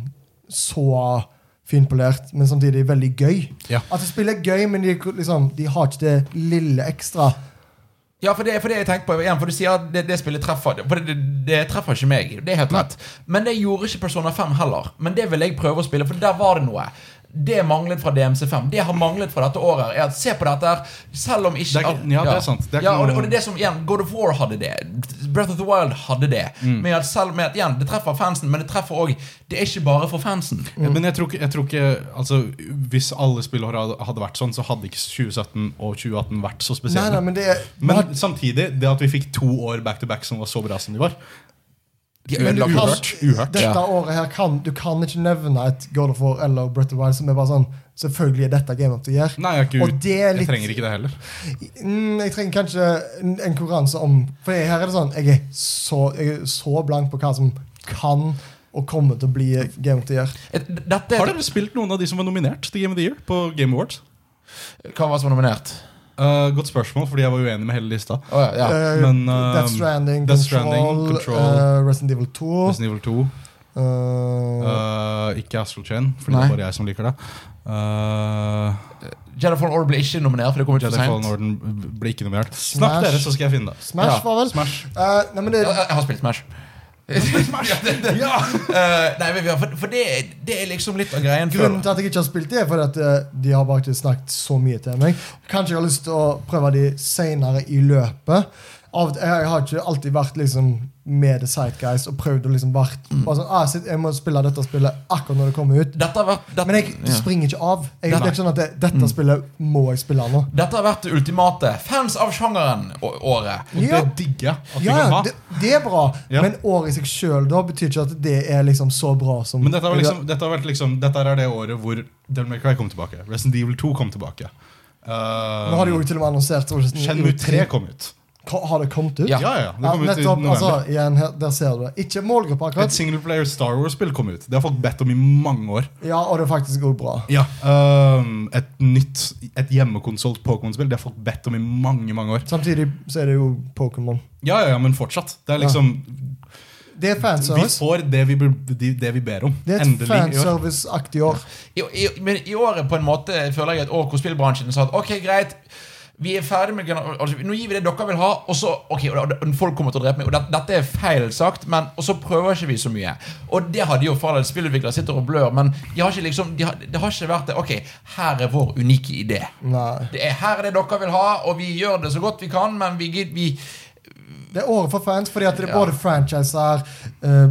Speaker 3: så finpolert, men samtidig veldig gøy.
Speaker 2: Ja.
Speaker 3: At det spiller gøy, men de, liksom, de har ikke det lille ekstra.
Speaker 1: Ja, for det, for det jeg tenker på igjen, for du sier at det, det spillet treffer for det, det, det treffer ikke meg. Det er helt rett. Men det gjorde ikke Persona 5 heller. Men det vil jeg prøve å spille, for der var det noe. Det manglet fra DMC5. Det har manglet fra dette året, er at se på dette her, selv om ikke
Speaker 2: Det er ikke- ja, det er sant. Det er
Speaker 1: ja,
Speaker 2: ikke
Speaker 1: og, det,
Speaker 2: noe-
Speaker 1: og det er det som, igjen, God of War hadde det. Breath of the Wild hadde det.
Speaker 2: Mm.
Speaker 1: Med at selv med at, igjen, Det treffer fansen, men det treffer òg Det er ikke bare for fansen.
Speaker 3: Mm.
Speaker 2: Men jeg tror, ikke- jeg tror ikke altså, Hvis alle spillår hadde- hadde vært sånn, så hadde ikke 2017 og 2018 vært så
Speaker 3: Nei,
Speaker 2: spesielle.
Speaker 3: nei, men det er
Speaker 2: men samtidig, det at vi fikk to år back to back som var så bra som de var
Speaker 1: De
Speaker 2: Men
Speaker 1: ødelagte
Speaker 2: uhørt.
Speaker 1: alt.
Speaker 2: uhørt.
Speaker 3: Dette
Speaker 1: Ja.
Speaker 3: året her kan du kan ikke nevne et God of War eller Breath of the Wild som er bare sånn Selvfølgelig er dette Game of the Year.
Speaker 2: Nei, jeg, er ikke,
Speaker 3: Og det er
Speaker 2: jeg
Speaker 3: litt-
Speaker 2: trenger ikke det heller.
Speaker 3: Mm, jeg trenger kanskje en, en konkurranse om For her er det sånn Jeg er så, jeg er så blank på hva som kan og kommer til å bli Game of the Year.
Speaker 1: Et- Dette
Speaker 2: Har dere spilt noen av de som var nominert til Game of the Year på Game Awards?
Speaker 1: Hva var det som var nominert?
Speaker 2: Eh, godt spørsmål, fordi jeg var uenig med hele lista.
Speaker 1: Å, ja, ja.
Speaker 3: Eh,
Speaker 2: men, eh,
Speaker 3: Death Stranding,
Speaker 2: Death
Speaker 3: Control,
Speaker 2: Stranding, Control.
Speaker 3: eh, Resident Evil 2
Speaker 2: Resident Evil 2,
Speaker 3: eh,
Speaker 2: eh, ikke Astral Chain, fordi
Speaker 1: Nei.
Speaker 2: det er bare jeg som liker det. Eh,
Speaker 1: Jedi Fallen Order ble ikke nominert, for det kom ut for
Speaker 2: Jedi Fallen
Speaker 1: seint.
Speaker 2: Orden ble ikke nominert. Snakk
Speaker 3: Smash.
Speaker 2: dere, så skal jeg finne det.
Speaker 3: Smash
Speaker 1: ja,
Speaker 3: var vel
Speaker 2: Smash.
Speaker 3: Eh, nei, men det,
Speaker 1: Jeg, jeg har spilt Smash. [laughs] Ja, det- det- Eh, nei, men vi har- for, for det, det er liksom litt av greien. for-
Speaker 3: Grunnen til at jeg ikke har spilt det, er fordi at eh, de har bare ikke snakket så mye til meg. Kanskje jeg har lyst til å prøve de senere i løpet. Av, jeg har ikke alltid vært liksom med The Sightguys og prøvd å liksom vært
Speaker 1: Mm.
Speaker 3: bare sånn, ah, shit, Jeg må spille dette spillet akkurat når det kommer ut.
Speaker 1: Dette har vært dette,
Speaker 3: Men jeg
Speaker 1: ja.
Speaker 3: springer ikke av. Jeg, det
Speaker 1: Nei. Mm.
Speaker 3: er ikke sånn at det, Dette spillet må jeg spille nå.
Speaker 1: Dette har vært det ultimate fans av sjangeren å- året.
Speaker 2: Og
Speaker 3: Ja.
Speaker 2: det digger jeg at vi
Speaker 3: Ja,
Speaker 2: kan ha.
Speaker 3: det, det er bra,
Speaker 2: Ja.
Speaker 3: men året i seg sjøl betyr ikke at det er liksom så bra som
Speaker 2: Men dette, var liksom, dette, har vært liksom, dette er det året hvor Devil May Cry kom tilbake. Resident Evil 2 kom tilbake. Eh,
Speaker 3: Nå har de jo til og med annonsert
Speaker 2: Shenmue 3 kom ut.
Speaker 3: Har det kommet ut?
Speaker 1: Ja.
Speaker 2: Ja, ja, ja. Det
Speaker 3: Ja,
Speaker 2: kom ut i
Speaker 3: nettopp, altså,
Speaker 2: november.
Speaker 3: igjen, her, der ser du det. Ikke målgruppa,
Speaker 2: Et
Speaker 3: akkurat.
Speaker 2: singleplayer Star Wars-spill kom ut. Det har folk bedt om i mange år.
Speaker 3: Ja, og det er faktisk også bra.
Speaker 2: Ja, ehm, Et nytt, et hjemmekonsolt Pokémon-spill. Det har folk bedt om i mange mange år.
Speaker 3: Samtidig så er det jo Pokémon.
Speaker 2: Ja, ja, ja, men fortsatt. Det er liksom,
Speaker 3: Det er
Speaker 2: Vi
Speaker 3: fanservice.
Speaker 2: får det vi, bur- de- det vi ber om.
Speaker 3: Det er et
Speaker 2: Endelig. i år.
Speaker 3: fanservice-aktig år.
Speaker 1: I, i, men i året på en måte føler jeg et år hvor spillbransjen sa at ok, greit vi er ferdig med gener- altså, Nå gir vi det dere vil ha, og så ok, og, da- og folk kommer til å drepe meg. Og det, dette er feil sagt, men og så prøver ikke vi så mye. Og det hadde jo fordel. Spillutviklere sitter og blør, men de har ikke liksom, de har, det har ikke vært det. Ok, her er vår unike idé.
Speaker 3: Nei.
Speaker 1: Det er her er det dere vil ha, og vi gjør det så godt vi kan, men vi, gid- vi
Speaker 3: Det er året for fans, fordi at det er
Speaker 1: Ja.
Speaker 3: både franchiser, eh,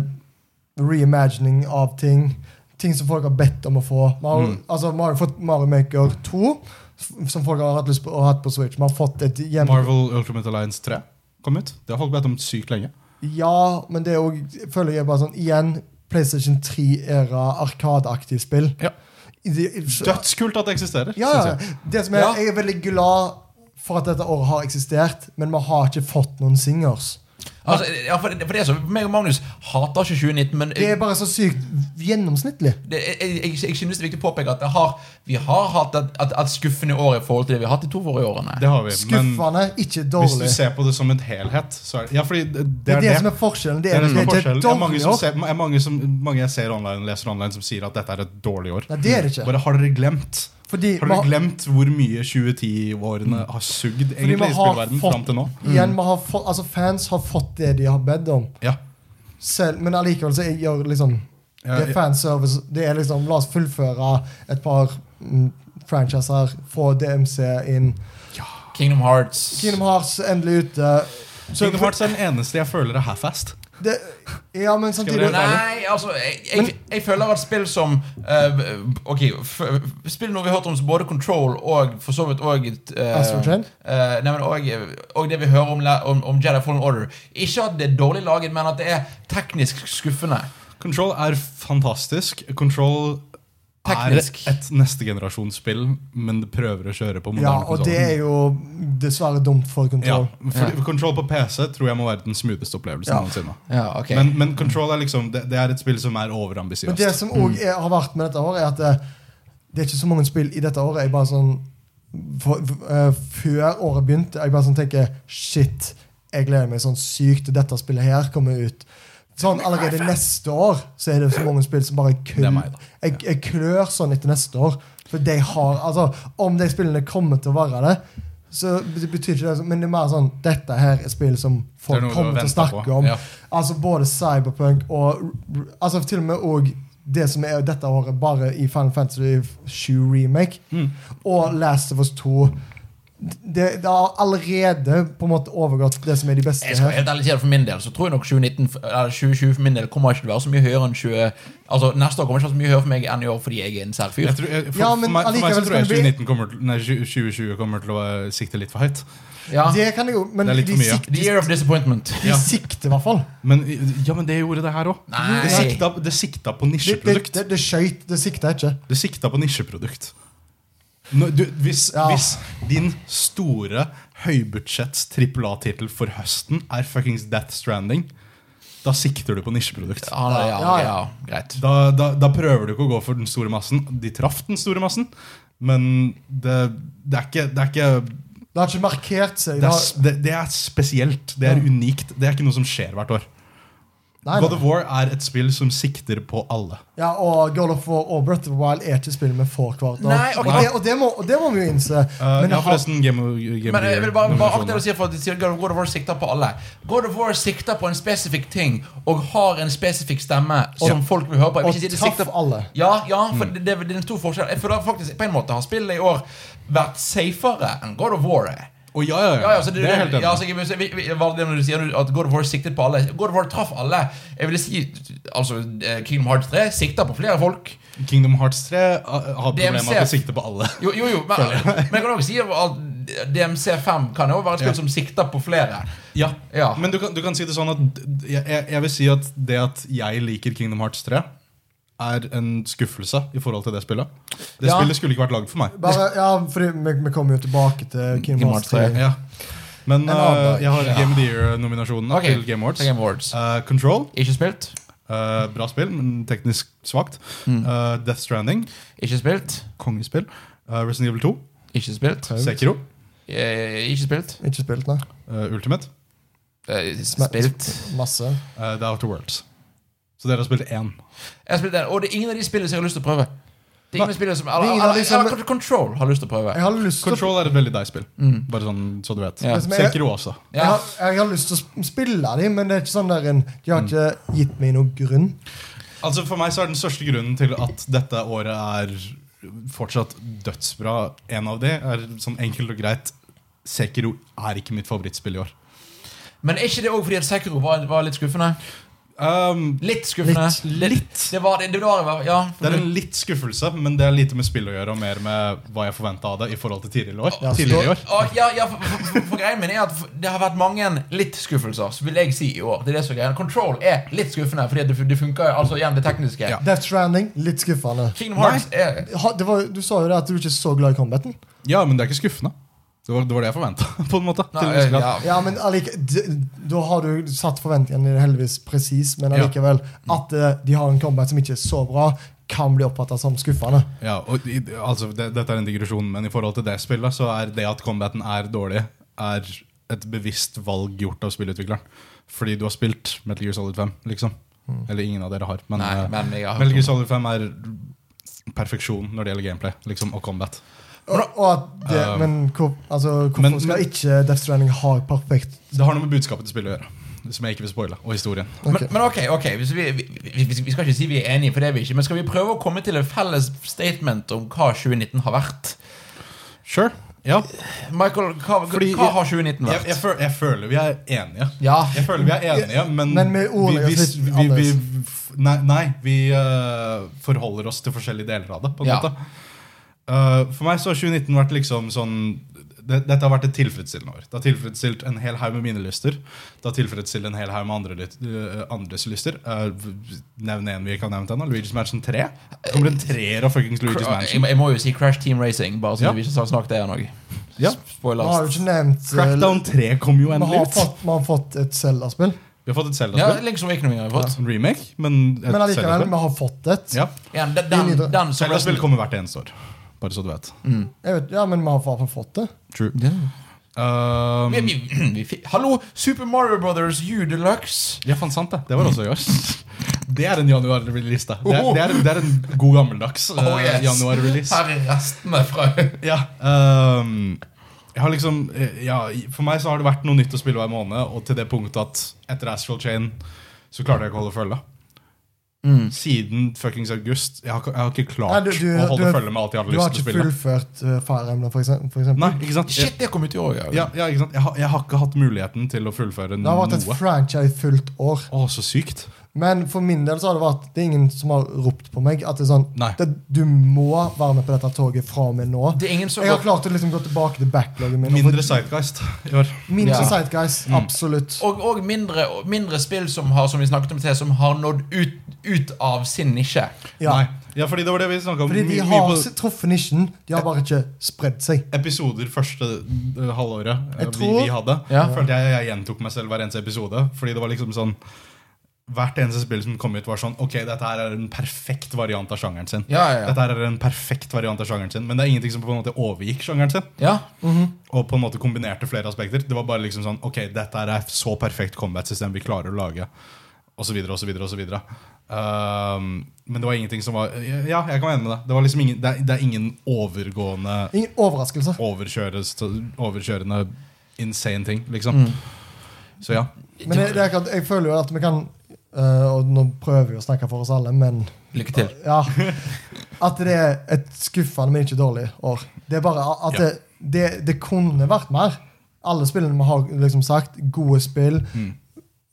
Speaker 3: reimagining av ting, ting som folk har bedt om å få. Man har, altså, man har jo fått Mario Maker 2, f- som folk har hatt lyst på å ha hatt på Switch. Man har fått et hjem...
Speaker 2: Marvel Ultimate Alliance 3 kom ut. Det har folk bedt om sykt lenge.
Speaker 3: Ja, men det er òg Føler jeg bare sånn Igjen, PlayStation 3-æra, arkadeaktig spill.
Speaker 2: Ja.
Speaker 3: Det-
Speaker 2: Dødskult at det eksisterer.
Speaker 3: Ja,
Speaker 2: synes
Speaker 3: ja.
Speaker 2: jeg.
Speaker 3: Det som er,
Speaker 1: Ja.
Speaker 3: Jeg er veldig glad for at dette året har eksistert, men vi har ikke fått noen singers.
Speaker 1: Altså, ja, for, det, for det er så, meg og Magnus hater ikke 2019, men
Speaker 3: Det er bare så sykt gjennomsnittlig.
Speaker 1: det, jeg, jeg, jeg synes det er viktig å påpeke at det har, vi har hatt et, et, et skuffende år i forhold til det vi har hatt de to forrige årene.
Speaker 2: Det har vi. Men
Speaker 3: Skuffende, ikke
Speaker 2: hvis du
Speaker 3: dårlig.
Speaker 2: ser på det som en helhet, så er det Ja, fordi det,
Speaker 3: Det
Speaker 2: det
Speaker 3: er
Speaker 2: er
Speaker 3: det som
Speaker 2: det.
Speaker 3: er forskjellen. Det
Speaker 2: Det
Speaker 3: er,
Speaker 2: er det som er
Speaker 3: det er
Speaker 2: forskjellen.
Speaker 3: et
Speaker 2: Det er mange,
Speaker 3: dårlig
Speaker 2: som
Speaker 3: år.
Speaker 2: ser, er mange, som, mange jeg ser online, leser online, som sier at dette er et dårlig år.
Speaker 3: Nei, det er det ikke.
Speaker 2: Bare har dere glemt?
Speaker 3: Fordi
Speaker 2: Har dere
Speaker 3: vi-
Speaker 2: glemt hvor mye 2010-årene har sugd egentlig
Speaker 3: man
Speaker 2: i
Speaker 3: har
Speaker 2: spillverden
Speaker 3: fått-
Speaker 2: fram til nå?
Speaker 3: Igjen, vi har fått, altså Fans har fått det de har bedt om.
Speaker 2: Ja.
Speaker 3: Selv, men allikevel så jeg gjør liksom
Speaker 2: Ja,
Speaker 3: Det er
Speaker 2: ja.
Speaker 3: fanservice. Det er liksom, La oss fullføre et par mm, franchiser. Få DMC inn.
Speaker 1: Kingdom Hearts.
Speaker 3: Kingdom Hearts er endelig ute. Så-
Speaker 2: Kingdom Hearts er den eneste jeg føler er half-fast.
Speaker 3: Det, ja, men
Speaker 2: Skal vi
Speaker 3: samtidig
Speaker 2: gjøre det?
Speaker 1: Nei, altså Jeg, jeg, jeg føler at spill som eh, Ok, f spill noe vi har hørt om som både Control og for så vidt òg
Speaker 3: Astral Chain?
Speaker 1: nei, men og, og det vi hører om, la- om, om Jedi Fallen Order. Ikke at det er dårlig laget, men at det er teknisk skuffende.
Speaker 2: Control er fantastisk. Control
Speaker 1: Teknisk.
Speaker 2: er et neste generasjons spill, men det prøver å kjøre på
Speaker 3: Ja,
Speaker 2: moderne
Speaker 3: og det er jo dessverre dumt for kontroll.
Speaker 2: Ja, for Control på PC tror jeg må være den smootheste opplevelsen
Speaker 3: Ja.
Speaker 2: noensinne.
Speaker 1: Ja, ok
Speaker 2: Men, men Control er liksom det, det er et spill som er
Speaker 3: Men det
Speaker 2: overambisiøst.
Speaker 3: som òg har vært med dette året, er at det, det er ikke så mange spill i dette året. Jeg bare sånn for, for, eh, Før året begynte, jeg bare sånn tenker Shit, jeg gleder meg sånn sykt til dette spillet her kommer ut. Sånn Allerede neste år så er det så mange spill som bare
Speaker 2: Det er
Speaker 3: kun,
Speaker 2: meg, da.
Speaker 3: jeg, jeg klør sånn etter neste år. For de har, altså, Om de spillene kommer til å være det, så det betyr ikke det så- Men det er mer sånn Dette her er spill
Speaker 2: Det
Speaker 3: som
Speaker 2: er
Speaker 3: folk
Speaker 2: noe du har
Speaker 3: kommer til å
Speaker 2: ventet
Speaker 3: snakke
Speaker 2: på.
Speaker 3: om.
Speaker 2: Ja.
Speaker 3: Altså både Cyberpunk og Altså til og med òg det som er dette året, bare i Final Fantasy 7 Remake
Speaker 2: Mm.
Speaker 3: og Last of Us 2 det, det har allerede på en måte overgått det som er de beste
Speaker 1: Jeg skal
Speaker 3: her.
Speaker 1: helt ærlig si det for min del, så tror jeg nok 2019, f- eller 2020 for min del kommer ikke til å være så mye høyere enn 20... Altså, neste år kommer ikke til å være så mye høyere for meg enn i år fordi jeg er en sær fyr.
Speaker 2: Jeg tror, jeg, for,
Speaker 3: Ja, men
Speaker 2: for meg, for meg
Speaker 3: allikevel
Speaker 2: så tror jeg
Speaker 3: skal det
Speaker 2: 2019 kommer til, nei, 20- 2020 kommer til å eh, sikte litt for høyt.
Speaker 1: Ja.
Speaker 3: Det kan jeg jo, men
Speaker 2: Det er litt
Speaker 3: de,
Speaker 2: for mye, ja.
Speaker 3: sik,
Speaker 1: The year of disappointment.
Speaker 3: de sikter i hvert fall.
Speaker 2: Men, ja, men det gjorde det her òg.
Speaker 1: Nei.
Speaker 2: Det, sikta- det sikta på
Speaker 3: Det, det,
Speaker 2: nisjeprodukt.
Speaker 3: det, det skøyt, det sikta ikke.
Speaker 2: Det sikta på nisjeprodukt. Nå, du, hvis,
Speaker 3: Ja.
Speaker 2: hvis din store høybudsjetts trippel A-tittel for høsten er fuckings Death Stranding, da sikter du på nisjeprodukt.
Speaker 1: Ja, nei, ja,
Speaker 3: Ja,
Speaker 1: ja,
Speaker 3: ja.
Speaker 1: greit.
Speaker 2: Da, da, da prøver du ikke å gå for den store massen. De traff den store massen, men det, det er ikke, det er ikke
Speaker 3: Det har ikke markert seg.
Speaker 2: det
Speaker 3: Det
Speaker 2: er,
Speaker 3: har,
Speaker 2: s- det, det er spesielt. Det er
Speaker 3: Ja.
Speaker 2: unikt. Det er ikke noe som skjer hvert år.
Speaker 3: nei,
Speaker 2: God
Speaker 3: nei.
Speaker 2: of War er et spill som sikter på alle.
Speaker 3: Ja, og God of War og Breath of the Wild er ikke spill vi får hvert år.
Speaker 1: Nei, ok.
Speaker 3: og, det, og, det må, og det må vi jo innse.
Speaker 2: Eh,
Speaker 3: Men
Speaker 2: ja,
Speaker 3: det har-
Speaker 2: forresten, Game of,
Speaker 1: Men
Speaker 2: Game of
Speaker 1: jeg
Speaker 2: the
Speaker 1: vil
Speaker 2: Year,
Speaker 1: bare, bare akte det
Speaker 2: nominasjoner.
Speaker 1: du sier for at de sier God of War- War sikter på alle. God of War sikter på en spesifikk ting og har en spesifikk stemme som folk vil høre på. Jeg vil
Speaker 3: og
Speaker 1: ikke si det
Speaker 3: traff
Speaker 1: sikter
Speaker 3: alle.
Speaker 1: Ja, ja, for
Speaker 2: Mm.
Speaker 1: det, det, det er en stor forskjell. Jeg føler faktisk på en måte har spillet i år vært safere enn God of War. er.
Speaker 2: Å, ja, ja, ja.
Speaker 1: Ja, ja, så det,
Speaker 2: det er helt enig.
Speaker 1: ja, altså, jeg, vil si- vi, vi, hva er det når du sier at God of War siktet på alle. God of War traff alle. Jeg ville si altså, eh, Kingdom Hearts 3 sikter på flere folk.
Speaker 2: Kingdom Hearts 3 har problemer med at det
Speaker 1: DMC.
Speaker 2: sikter på alle.
Speaker 1: Jo, jo, jo men, men jeg kan også si at DMC5 kan jo være et spill
Speaker 2: Ja.
Speaker 1: som sikter på flere.
Speaker 2: Ja,
Speaker 1: Ja.
Speaker 2: Men du kan, du kan si det sånn at d- jeg, jeg jeg vil si at det at jeg liker Kingdom Hearts 3, er en skuffelse i forhold til det spillet. Det
Speaker 1: Ja.
Speaker 2: spillet skulle ikke vært lagd for meg.
Speaker 3: Bare, ja, fordi vi, vi kommer jo tilbake til Kingdom Hearts 3.
Speaker 2: [laughs] Ja. Men
Speaker 3: En annen dag.
Speaker 2: eh, jeg har Game of the Year-nominasjonen
Speaker 1: Ok.
Speaker 2: til Game Awards.
Speaker 1: Game Awards.
Speaker 2: Eh, Control,
Speaker 1: Ikke spilt.
Speaker 2: eh, bra spill, men teknisk svakt.
Speaker 1: Mm.
Speaker 2: Eh, Death Stranding,
Speaker 1: Ikke spilt.
Speaker 2: kongespill. Eh, Resident Evil 2,
Speaker 1: Ikke spilt.
Speaker 3: Traut.
Speaker 2: Sekiro,
Speaker 1: Eh, ikke spilt.
Speaker 3: Ikke spilt, nei.
Speaker 2: eh, Ultimate.
Speaker 1: Eh,
Speaker 3: Sm-
Speaker 1: spilt.
Speaker 3: Masse.
Speaker 2: eh, The Outer Worlds. Så dere har spilt én.
Speaker 1: Jeg har spilt den, og det er ingen av de spillene som jeg har lyst til å prøve. Det er
Speaker 2: Nei.
Speaker 1: ingen spillene som
Speaker 3: Det
Speaker 1: eller,
Speaker 3: er ingen av
Speaker 1: eller,
Speaker 3: de som-
Speaker 1: eller Control har jeg lyst til å prøve.
Speaker 3: Jeg har lyst til å
Speaker 2: Control er et veldig deg spill.
Speaker 1: Mm.
Speaker 2: Bare sånn så du vet.
Speaker 1: Ja.
Speaker 3: Det som er-
Speaker 2: Sekiro også.
Speaker 3: jeg
Speaker 1: Ja.
Speaker 3: har, jeg har lyst til å sp- spille dem, men det er ikke sånn der en, de har ikke gitt meg noen grunn.
Speaker 2: Altså For meg så er den største grunnen til at dette året er fortsatt dødsbra, en av de, er sånn enkelt og greit Sekiro er ikke mitt favorittspill i år.
Speaker 1: Men er ikke det òg fordi at Sekiro var, var litt skuffende?
Speaker 2: Um,
Speaker 1: Litt skuffende.
Speaker 3: Litt.
Speaker 1: Det var det. det var, ja,
Speaker 2: det er en litt skuffelse, men det er lite med spillet å gjøre og mer med hva jeg forventa av det i forhold til tidligere år.
Speaker 3: Ja, så-
Speaker 2: tidligere i år.
Speaker 1: Å, ja, ja, for, for, for, for greien min er at Det har vært mange litt skuffelser, vil jeg si, i år. Det er det som er greien. Control er litt skuffende, fordi det, det funker jo, altså igjen det tekniske.
Speaker 2: Ja.
Speaker 3: Death Stranding, litt skuffende.
Speaker 1: Kingdom Hearts er
Speaker 3: Ha, det var, du sa jo det at du ikke er så glad i combaten.
Speaker 2: Ja, men det er ikke skuffende. Det var det, var det jeg forventa. [laughs] På en måte.
Speaker 1: Nei,
Speaker 2: til en viss grad.
Speaker 1: ja.
Speaker 3: Ja, men allike, d, Da har du satt forventningene dine heldigvis presis, men allikevel at eh, de har en combat som ikke er så bra, kan bli oppfatta som skuffende.
Speaker 2: Ja, og i, altså, det, Dette er en digresjon, men i forhold til det spillet så er det at combaten er dårlig, er et bevisst valg gjort av spillutvikleren. Fordi du har spilt Metal Gear Solid 5, liksom. Eller ingen av dere har. Men,
Speaker 1: Hmm. Nei,
Speaker 2: eh,
Speaker 1: men jeg har
Speaker 2: Metal Gear Solid 5 er perfeksjon når det gjelder gameplay liksom, og combat.
Speaker 3: Og, og at det,
Speaker 2: Um,
Speaker 3: men hvor, altså, hvorfor
Speaker 2: men-
Speaker 3: skal ikke Death Stranding ha perfekt
Speaker 2: Det har noe med budskapet til spillet å gjøre. Som jeg ikke vil spoile. Og historien.
Speaker 1: Men, men ok, ok, hvis vi, vi, vi, vi skal ikke si vi er enige, for det er vi ikke. Men skal vi prøve å komme til en felles statement om hva 2019 har vært?
Speaker 2: Sure. Ja.
Speaker 1: Michael, hva,
Speaker 2: Fordi-
Speaker 1: hva har 2019
Speaker 2: Jeg,
Speaker 1: vært?
Speaker 2: jeg, føl, jeg føler vi er enige.
Speaker 1: ja.
Speaker 2: Jeg føler vi er enige, men,
Speaker 3: Men med ordene altså,
Speaker 2: vi,
Speaker 3: litt
Speaker 2: vi, vi, vi,
Speaker 3: annerledes.
Speaker 2: f- Nei, nei vi eh, forholder oss til forskjellige deler av det. På en
Speaker 1: Ja.
Speaker 2: måte. Eh, for meg så har 2019 vært liksom sånn det, Dette har vært et tilfredsstillende år. Det har tilfredsstilt en hel haug med mine lyster. Det har tilfredsstilt en hel haug med andre, lyt- eh, andres lyster. Uh, Nevn en vi ikke har nevnt ennå. Luigi's Mansion 3. Det kommer en treer av fuckings Luigi's
Speaker 1: Jeg,
Speaker 2: Mansion.
Speaker 1: jeg må jo si Crash Team Racing, bare så
Speaker 2: Ja.
Speaker 1: vi ikke har snakket det ennå.
Speaker 2: Ja.
Speaker 3: Vi har jo
Speaker 1: Spoilers.
Speaker 3: ikke nevnt eh,
Speaker 2: Crackdown 3 kom jo
Speaker 3: Vi har
Speaker 2: endelig ut.
Speaker 3: fått, vi har fått et Zelda-spill.
Speaker 2: Vi har fått et
Speaker 1: Ja,
Speaker 2: Zelda-spill.
Speaker 1: Link som ikke noe vi har fått.
Speaker 2: En remake, men et
Speaker 3: Men allikevel,
Speaker 2: Zelda-spill.
Speaker 3: vi har fått et.
Speaker 2: Ja.
Speaker 1: Ja, den, den,
Speaker 3: Ingen idé.
Speaker 1: den som
Speaker 2: Zelda-spill kommer hvert eneste år. Bare så du vet.
Speaker 3: Jeg vet, ja, men vi har i hvert fall fått det.
Speaker 2: Mm. True.
Speaker 1: Ja.
Speaker 2: Um,
Speaker 1: Vi, vi, [clears throat] vi, fikk- Hallo, Super Mario Brothers U Deluxe.
Speaker 2: ja, faen sant det. Det var også i år. [laughs] Det er en januar-release. da. Det, er- det, er- det er en god gammeldags eh,
Speaker 1: Oh, yes.
Speaker 2: januar-release.
Speaker 1: Her er restene fra
Speaker 2: Ja, um, jeg har liksom, eh, ja, i- for meg så har det vært noe nytt å spille hver måned, og til det punktet at etter Astral Chain så klarte jeg ikke å holde følge.
Speaker 1: Mm.
Speaker 2: siden fuckings august. Jeg har, ikke- jeg har ikke klart
Speaker 3: Nei, du- du-
Speaker 2: å holde
Speaker 3: du-
Speaker 2: følge med alt jeg hadde
Speaker 3: Du har
Speaker 2: lyst til å
Speaker 3: ikke
Speaker 2: spille.
Speaker 3: fullført uh, Fire Emblem, for eksempel. For eksempel.
Speaker 2: Nei, ikke sant? Jeg,
Speaker 1: Shit, det kom ut i år, ja.
Speaker 2: ja, ja, ikke sant? Jeg, har, jeg har ikke hatt muligheten til å fullføre
Speaker 3: Det har vært et
Speaker 2: noe.
Speaker 3: franchise fullt år.
Speaker 2: Å, så sykt.
Speaker 3: Men for min del så har det vært Det er ingen som har ropt på meg at det er sånn
Speaker 2: Nei.
Speaker 3: det, Du må være med på dette toget fra og med nå.
Speaker 1: Det er ingen som
Speaker 3: Jeg har klart å liksom gå tilbake til backloggen min. og få-
Speaker 2: Mindre Mm. Sightguist i år.
Speaker 3: mindre
Speaker 1: Ja.
Speaker 3: Sightguys. Absolutt.
Speaker 1: Og, og mindre, mindre spill som har som vi snakket om til, som har nådd ut, ut av sin nisje.
Speaker 3: Ja.
Speaker 2: Nei. ja, fordi det var det vi snakka om.
Speaker 3: Fordi de
Speaker 2: mye- mye
Speaker 3: har
Speaker 2: på-
Speaker 3: s- truffet nisjen, de har bare ikke spredd seg.
Speaker 2: episoder første eh, halvåret eh,
Speaker 3: Jeg
Speaker 2: vi,
Speaker 3: tror-
Speaker 2: vi hadde,
Speaker 1: Ja.
Speaker 2: følte jeg jeg gjentok meg selv hver eneste episode. Fordi det var liksom sånn Hvert eneste spill som kom ut, var sånn Ok, dette her er en perfekt variant av sjangeren sin.
Speaker 1: Ja, ja, ja.
Speaker 2: Dette her er en perfekt variant av sjangeren sin Men det er ingenting som på en måte overgikk sjangeren sin.
Speaker 1: Ja,
Speaker 2: Og på en måte kombinerte flere aspekter. Det var bare liksom sånn Ok, dette her er så perfekt combat-system vi klarer å lage. Og så videre, og så videre, og så videre. Ehm, men det var ingenting som var Ja, jeg kan være enig med deg. Det, var liksom ingen, det, er, det er ingen overgående
Speaker 3: Ingen overraskelser.
Speaker 2: overkjøres, overkjørende insane ting,
Speaker 3: Mm.
Speaker 2: liksom. Så ja.
Speaker 3: Men det, det er akkurat, jeg føler jo at vi kan eh, Og nå prøver vi å snakke for oss alle, men
Speaker 1: Lykke til.
Speaker 3: ja, At det er et skuffende, men ikke dårlig år. Det er bare at
Speaker 2: Ja.
Speaker 3: det, det, det kunne vært mer. Alle spillene vi har liksom sagt, gode spill.
Speaker 2: Mm.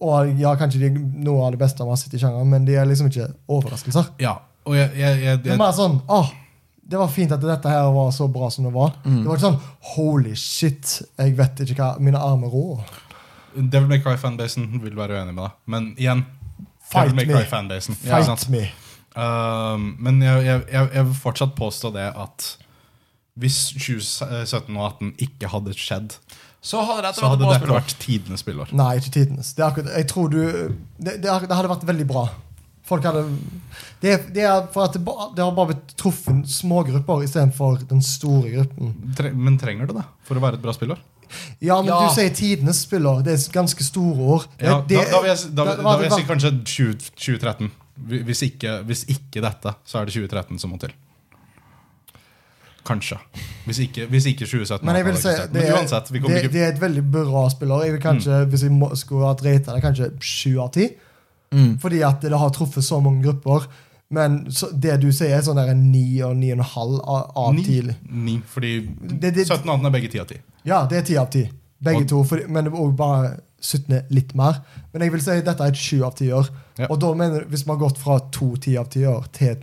Speaker 3: Og ja, kanskje de er noe av det beste man har sett i sjangeren, men de er liksom ikke overraskelser.
Speaker 2: ja. Og jeg, jeg, jeg,
Speaker 3: Det er
Speaker 2: jeg
Speaker 3: mer sånn åh, det var fint at dette her var så bra som det var.
Speaker 2: Mm.
Speaker 3: Det var ikke sånn holy shit, jeg vet ikke hva mine armer rår.
Speaker 2: Devil May Cry-fanbasen vil være uenig med deg, men igjen
Speaker 3: Fight
Speaker 2: Devil May
Speaker 3: me.
Speaker 2: Cry-fanbasen.
Speaker 3: Fight
Speaker 2: ikke sant?
Speaker 3: me.
Speaker 2: Um, men jeg, jeg, jeg, jeg vil fortsatt påstå det at hvis 2017 og 18 ikke hadde skjedd,
Speaker 1: Så hadde dette
Speaker 2: så
Speaker 1: vært et
Speaker 2: hadde
Speaker 1: bra
Speaker 2: dette
Speaker 1: spill.
Speaker 2: vært tidenes spillår.
Speaker 3: Nei, ikke tidenes. Det, er akkurat, jeg tror du, det, det, er, det hadde vært veldig bra. Folk hadde Det, er- det er for at det, ba- det har bare blitt truffet smågrupper istedenfor den store gruppen.
Speaker 2: Tre, men trenger det det for å være et bra spillår?
Speaker 3: Ja, men
Speaker 1: Ja.
Speaker 3: du sier tidenes spiller. Det er ganske store ord. Det-
Speaker 2: Ja, da,
Speaker 3: det-
Speaker 2: da vil jeg, da,
Speaker 3: det-
Speaker 2: vil-
Speaker 3: det
Speaker 2: da
Speaker 3: hadde
Speaker 2: vil jeg si
Speaker 3: vært-
Speaker 2: kanskje 20, 2013. Hvis ikke, hvis ikke dette, så er det 2013 som må til. Kanskje. Hvis ikke, hvis ikke 2017.
Speaker 3: Men jeg vil
Speaker 2: hadde
Speaker 3: si
Speaker 2: eksistert.
Speaker 3: det,
Speaker 2: Men
Speaker 3: er-
Speaker 2: uansett, vi kommer
Speaker 3: det,
Speaker 2: ikke Mm.
Speaker 3: det er et veldig bra spiller. Jeg vil kanskje, Hvis jeg må, skulle hatt rata det, kanskje sju av ti.
Speaker 2: Mm.
Speaker 3: Fordi at det har truffet så mange grupper. Men så, det du sier, er sånn der ni og ni og en halv av av
Speaker 2: Ni.
Speaker 3: ti.
Speaker 2: Ni, fordi
Speaker 3: Det- det-
Speaker 2: 17 og 18 er begge 10 av 10.
Speaker 3: Ja, det er ti av ti. Begge
Speaker 2: Og-
Speaker 3: to. Fordi, men det var også bare 17 er litt mer. Men jeg vil si dette er et sju av ti år.
Speaker 2: Ja.
Speaker 3: Og da mener du, hvis man har gått fra to ti av ti år til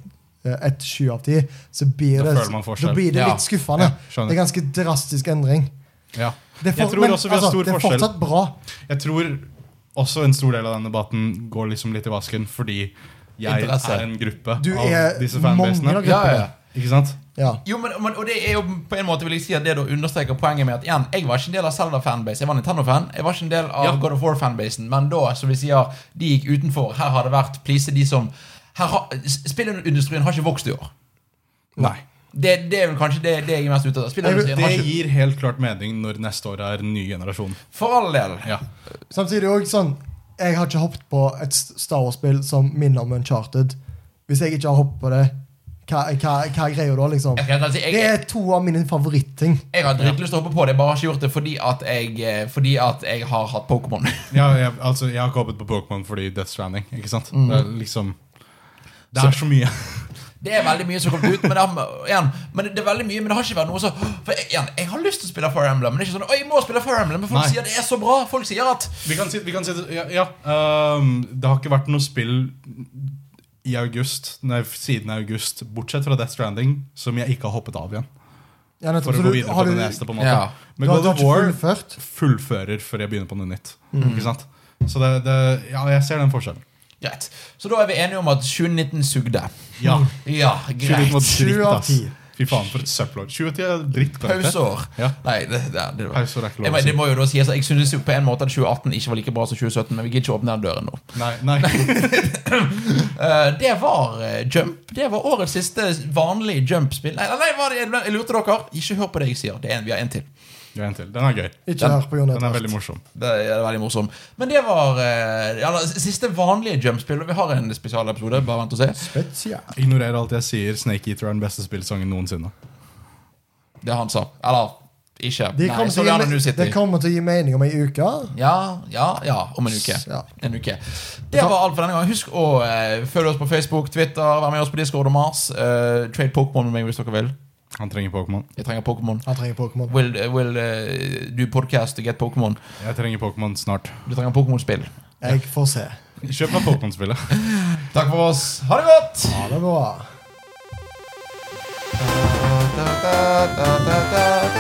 Speaker 3: eh, et sju av ti, så blir
Speaker 2: Da
Speaker 3: det,
Speaker 2: føler man forskjell.
Speaker 3: da blir det
Speaker 1: Ja.
Speaker 3: litt skuffende.
Speaker 2: Ja, skjønner.
Speaker 3: det er ganske drastisk endring.
Speaker 2: Ja.
Speaker 3: Det er,
Speaker 2: Jeg
Speaker 3: altså,
Speaker 2: tror også vi har stor
Speaker 3: det er
Speaker 2: forskjell.
Speaker 3: fortsatt bra.
Speaker 2: Jeg tror også en stor del av den debatten går liksom litt i vasken, fordi jeg
Speaker 1: Interesse.
Speaker 2: er en gruppe
Speaker 3: Du er
Speaker 2: av disse
Speaker 3: mange
Speaker 2: fanbasene.
Speaker 3: av
Speaker 1: Ja, ja,
Speaker 3: gruppene.
Speaker 1: ja.
Speaker 2: Ikke sant?
Speaker 3: Ja.
Speaker 1: Jo, men, men, og det er jo på en måte vil jeg si at det da understreker poenget med at igjen, jeg var ikke en del av Zelda-fanbase. Jeg var Nintendo-fan. Jeg var ikke en del av
Speaker 2: Ja.
Speaker 1: God of War-fanbasen. Men da, som vi sier, de gikk utenfor. Her har det vært please de som her har, Spillindustrien har ikke vokst i år.
Speaker 2: Nei.
Speaker 1: Det, det er vel kanskje det, det jeg er mest ute av. Spillindustrien
Speaker 2: Det
Speaker 1: har ikke
Speaker 2: gir helt klart mening når neste år er en ny generasjon.
Speaker 1: For all del.
Speaker 2: Ja.
Speaker 3: Samtidig òg sånn Jeg har ikke hoppet på et Star Wars-spill som minner om Uncharted. Hvis jeg ikke har hoppet på det, hva, hva, hva er greia da, liksom?
Speaker 1: Jeg, skal helt ærlig si, jeg,
Speaker 3: Det er to av mine favorittting.
Speaker 1: Jeg har dritlyst til å hoppe på det, jeg bare har ikke gjort det fordi at jeg, eh, fordi at jeg har hatt Pokémon.
Speaker 2: Ja, jeg, altså, jeg har ikke hoppet på Pokémon fordi Death Stranding. Ikke sant?
Speaker 1: Mm.
Speaker 2: Det er liksom Det er så mye. [laughs]
Speaker 1: Det er veldig mye som kommer ut, men det, har, igjen, men det er veldig mye, men det har ikke vært noe så For jeg, igjen, jeg har lyst til å spille Fire Emblem, men det er ikke sånn Å, jeg må spille Fire Emblem, men folk
Speaker 2: Nei.
Speaker 1: sier det er så bra. Folk sier at
Speaker 2: Vi kan si, vi kan si det, ja, ja. ehm, Det har ikke vært noe spill i august, nei, siden august, bortsett fra Death Stranding, som jeg ikke har hoppet av igjen.
Speaker 3: Ja, nettopp.
Speaker 2: For
Speaker 3: Så
Speaker 2: å gå
Speaker 3: du-
Speaker 2: videre
Speaker 3: har
Speaker 2: på det
Speaker 3: du-
Speaker 2: neste. på en måte
Speaker 1: Ja.
Speaker 2: Men
Speaker 3: du har-
Speaker 2: God
Speaker 3: du har Mm.
Speaker 2: of
Speaker 3: ikke
Speaker 2: War
Speaker 3: fullført?
Speaker 2: fullfører før jeg begynner på noe nytt. Ikke sant? Så det, det, ja, jeg ser den forskjellen.
Speaker 1: Greit. Så da er vi enige om at 2019 sugde.
Speaker 2: Ja,
Speaker 1: Ja,
Speaker 2: Dritt,
Speaker 1: greit.
Speaker 3: Mm. Sju av
Speaker 2: ass.
Speaker 3: ti.
Speaker 2: Fy faen, for et søppelår. 2010 er dritt. karakter.
Speaker 1: Pauseår.
Speaker 2: Ja.
Speaker 1: Nei, det, det, det, det,
Speaker 2: Pauseår er ikke
Speaker 1: jeg,
Speaker 2: lov
Speaker 1: men det
Speaker 2: å si.
Speaker 1: må jo da sies at Jeg synes jo på en måte at 2018 ikke var like bra som 2017, men vi gidder ikke åpne den døren nå.
Speaker 2: Nei,
Speaker 3: [laughs]
Speaker 2: nei.
Speaker 1: Eh, det var eh, Jump. Det var årets siste vanlige Jump-spill. Nei, nei, hva er det? jeg lurte dere. Ikke hør på det jeg sier. Det er en, vi har en til.
Speaker 2: Det er en til. Den er gøy.
Speaker 3: Ikke hør på Jon
Speaker 2: Den er
Speaker 3: Edvard.
Speaker 2: veldig morsom.
Speaker 1: Det er veldig morsom. Men det var eh, ja, da, siste vanlige Jump-spill. og Vi har en spesialepisode. Bare vent og se.
Speaker 3: Spezia.
Speaker 2: Ignorer alt jeg sier. Snake Eater er den beste spillsangen noensinne.
Speaker 1: Det han sa. Eller Ikke.
Speaker 3: De
Speaker 1: Nei,
Speaker 3: kommer,
Speaker 1: så
Speaker 3: til,
Speaker 1: det
Speaker 3: å
Speaker 1: er
Speaker 3: gi,
Speaker 1: nå
Speaker 3: me-
Speaker 1: City.
Speaker 3: det kommer til å gi mening om ei uke.
Speaker 1: Ja, ja, ja. Om en uke.
Speaker 3: Ja.
Speaker 1: En uke. Det var alt for denne gangen. Husk å eh, følge oss på Facebook, Twitter, være med oss på Discord og Mars. Eh, trade Pokémon med meg hvis dere vil.
Speaker 2: Han trenger Pokémon.
Speaker 1: Jeg trenger Pokémon.
Speaker 3: Han trenger Pokémon.
Speaker 1: Will, eh, will eh, do podcast to get Pokémon.
Speaker 2: Jeg trenger Pokémon snart.
Speaker 1: Du trenger Pokémon-spill.
Speaker 3: Jeg får se.
Speaker 2: Kjøp meg Pokémon-spillet.
Speaker 1: Takk for oss. Ha det godt!
Speaker 3: Ha det bra.
Speaker 1: da, da, da, da, da.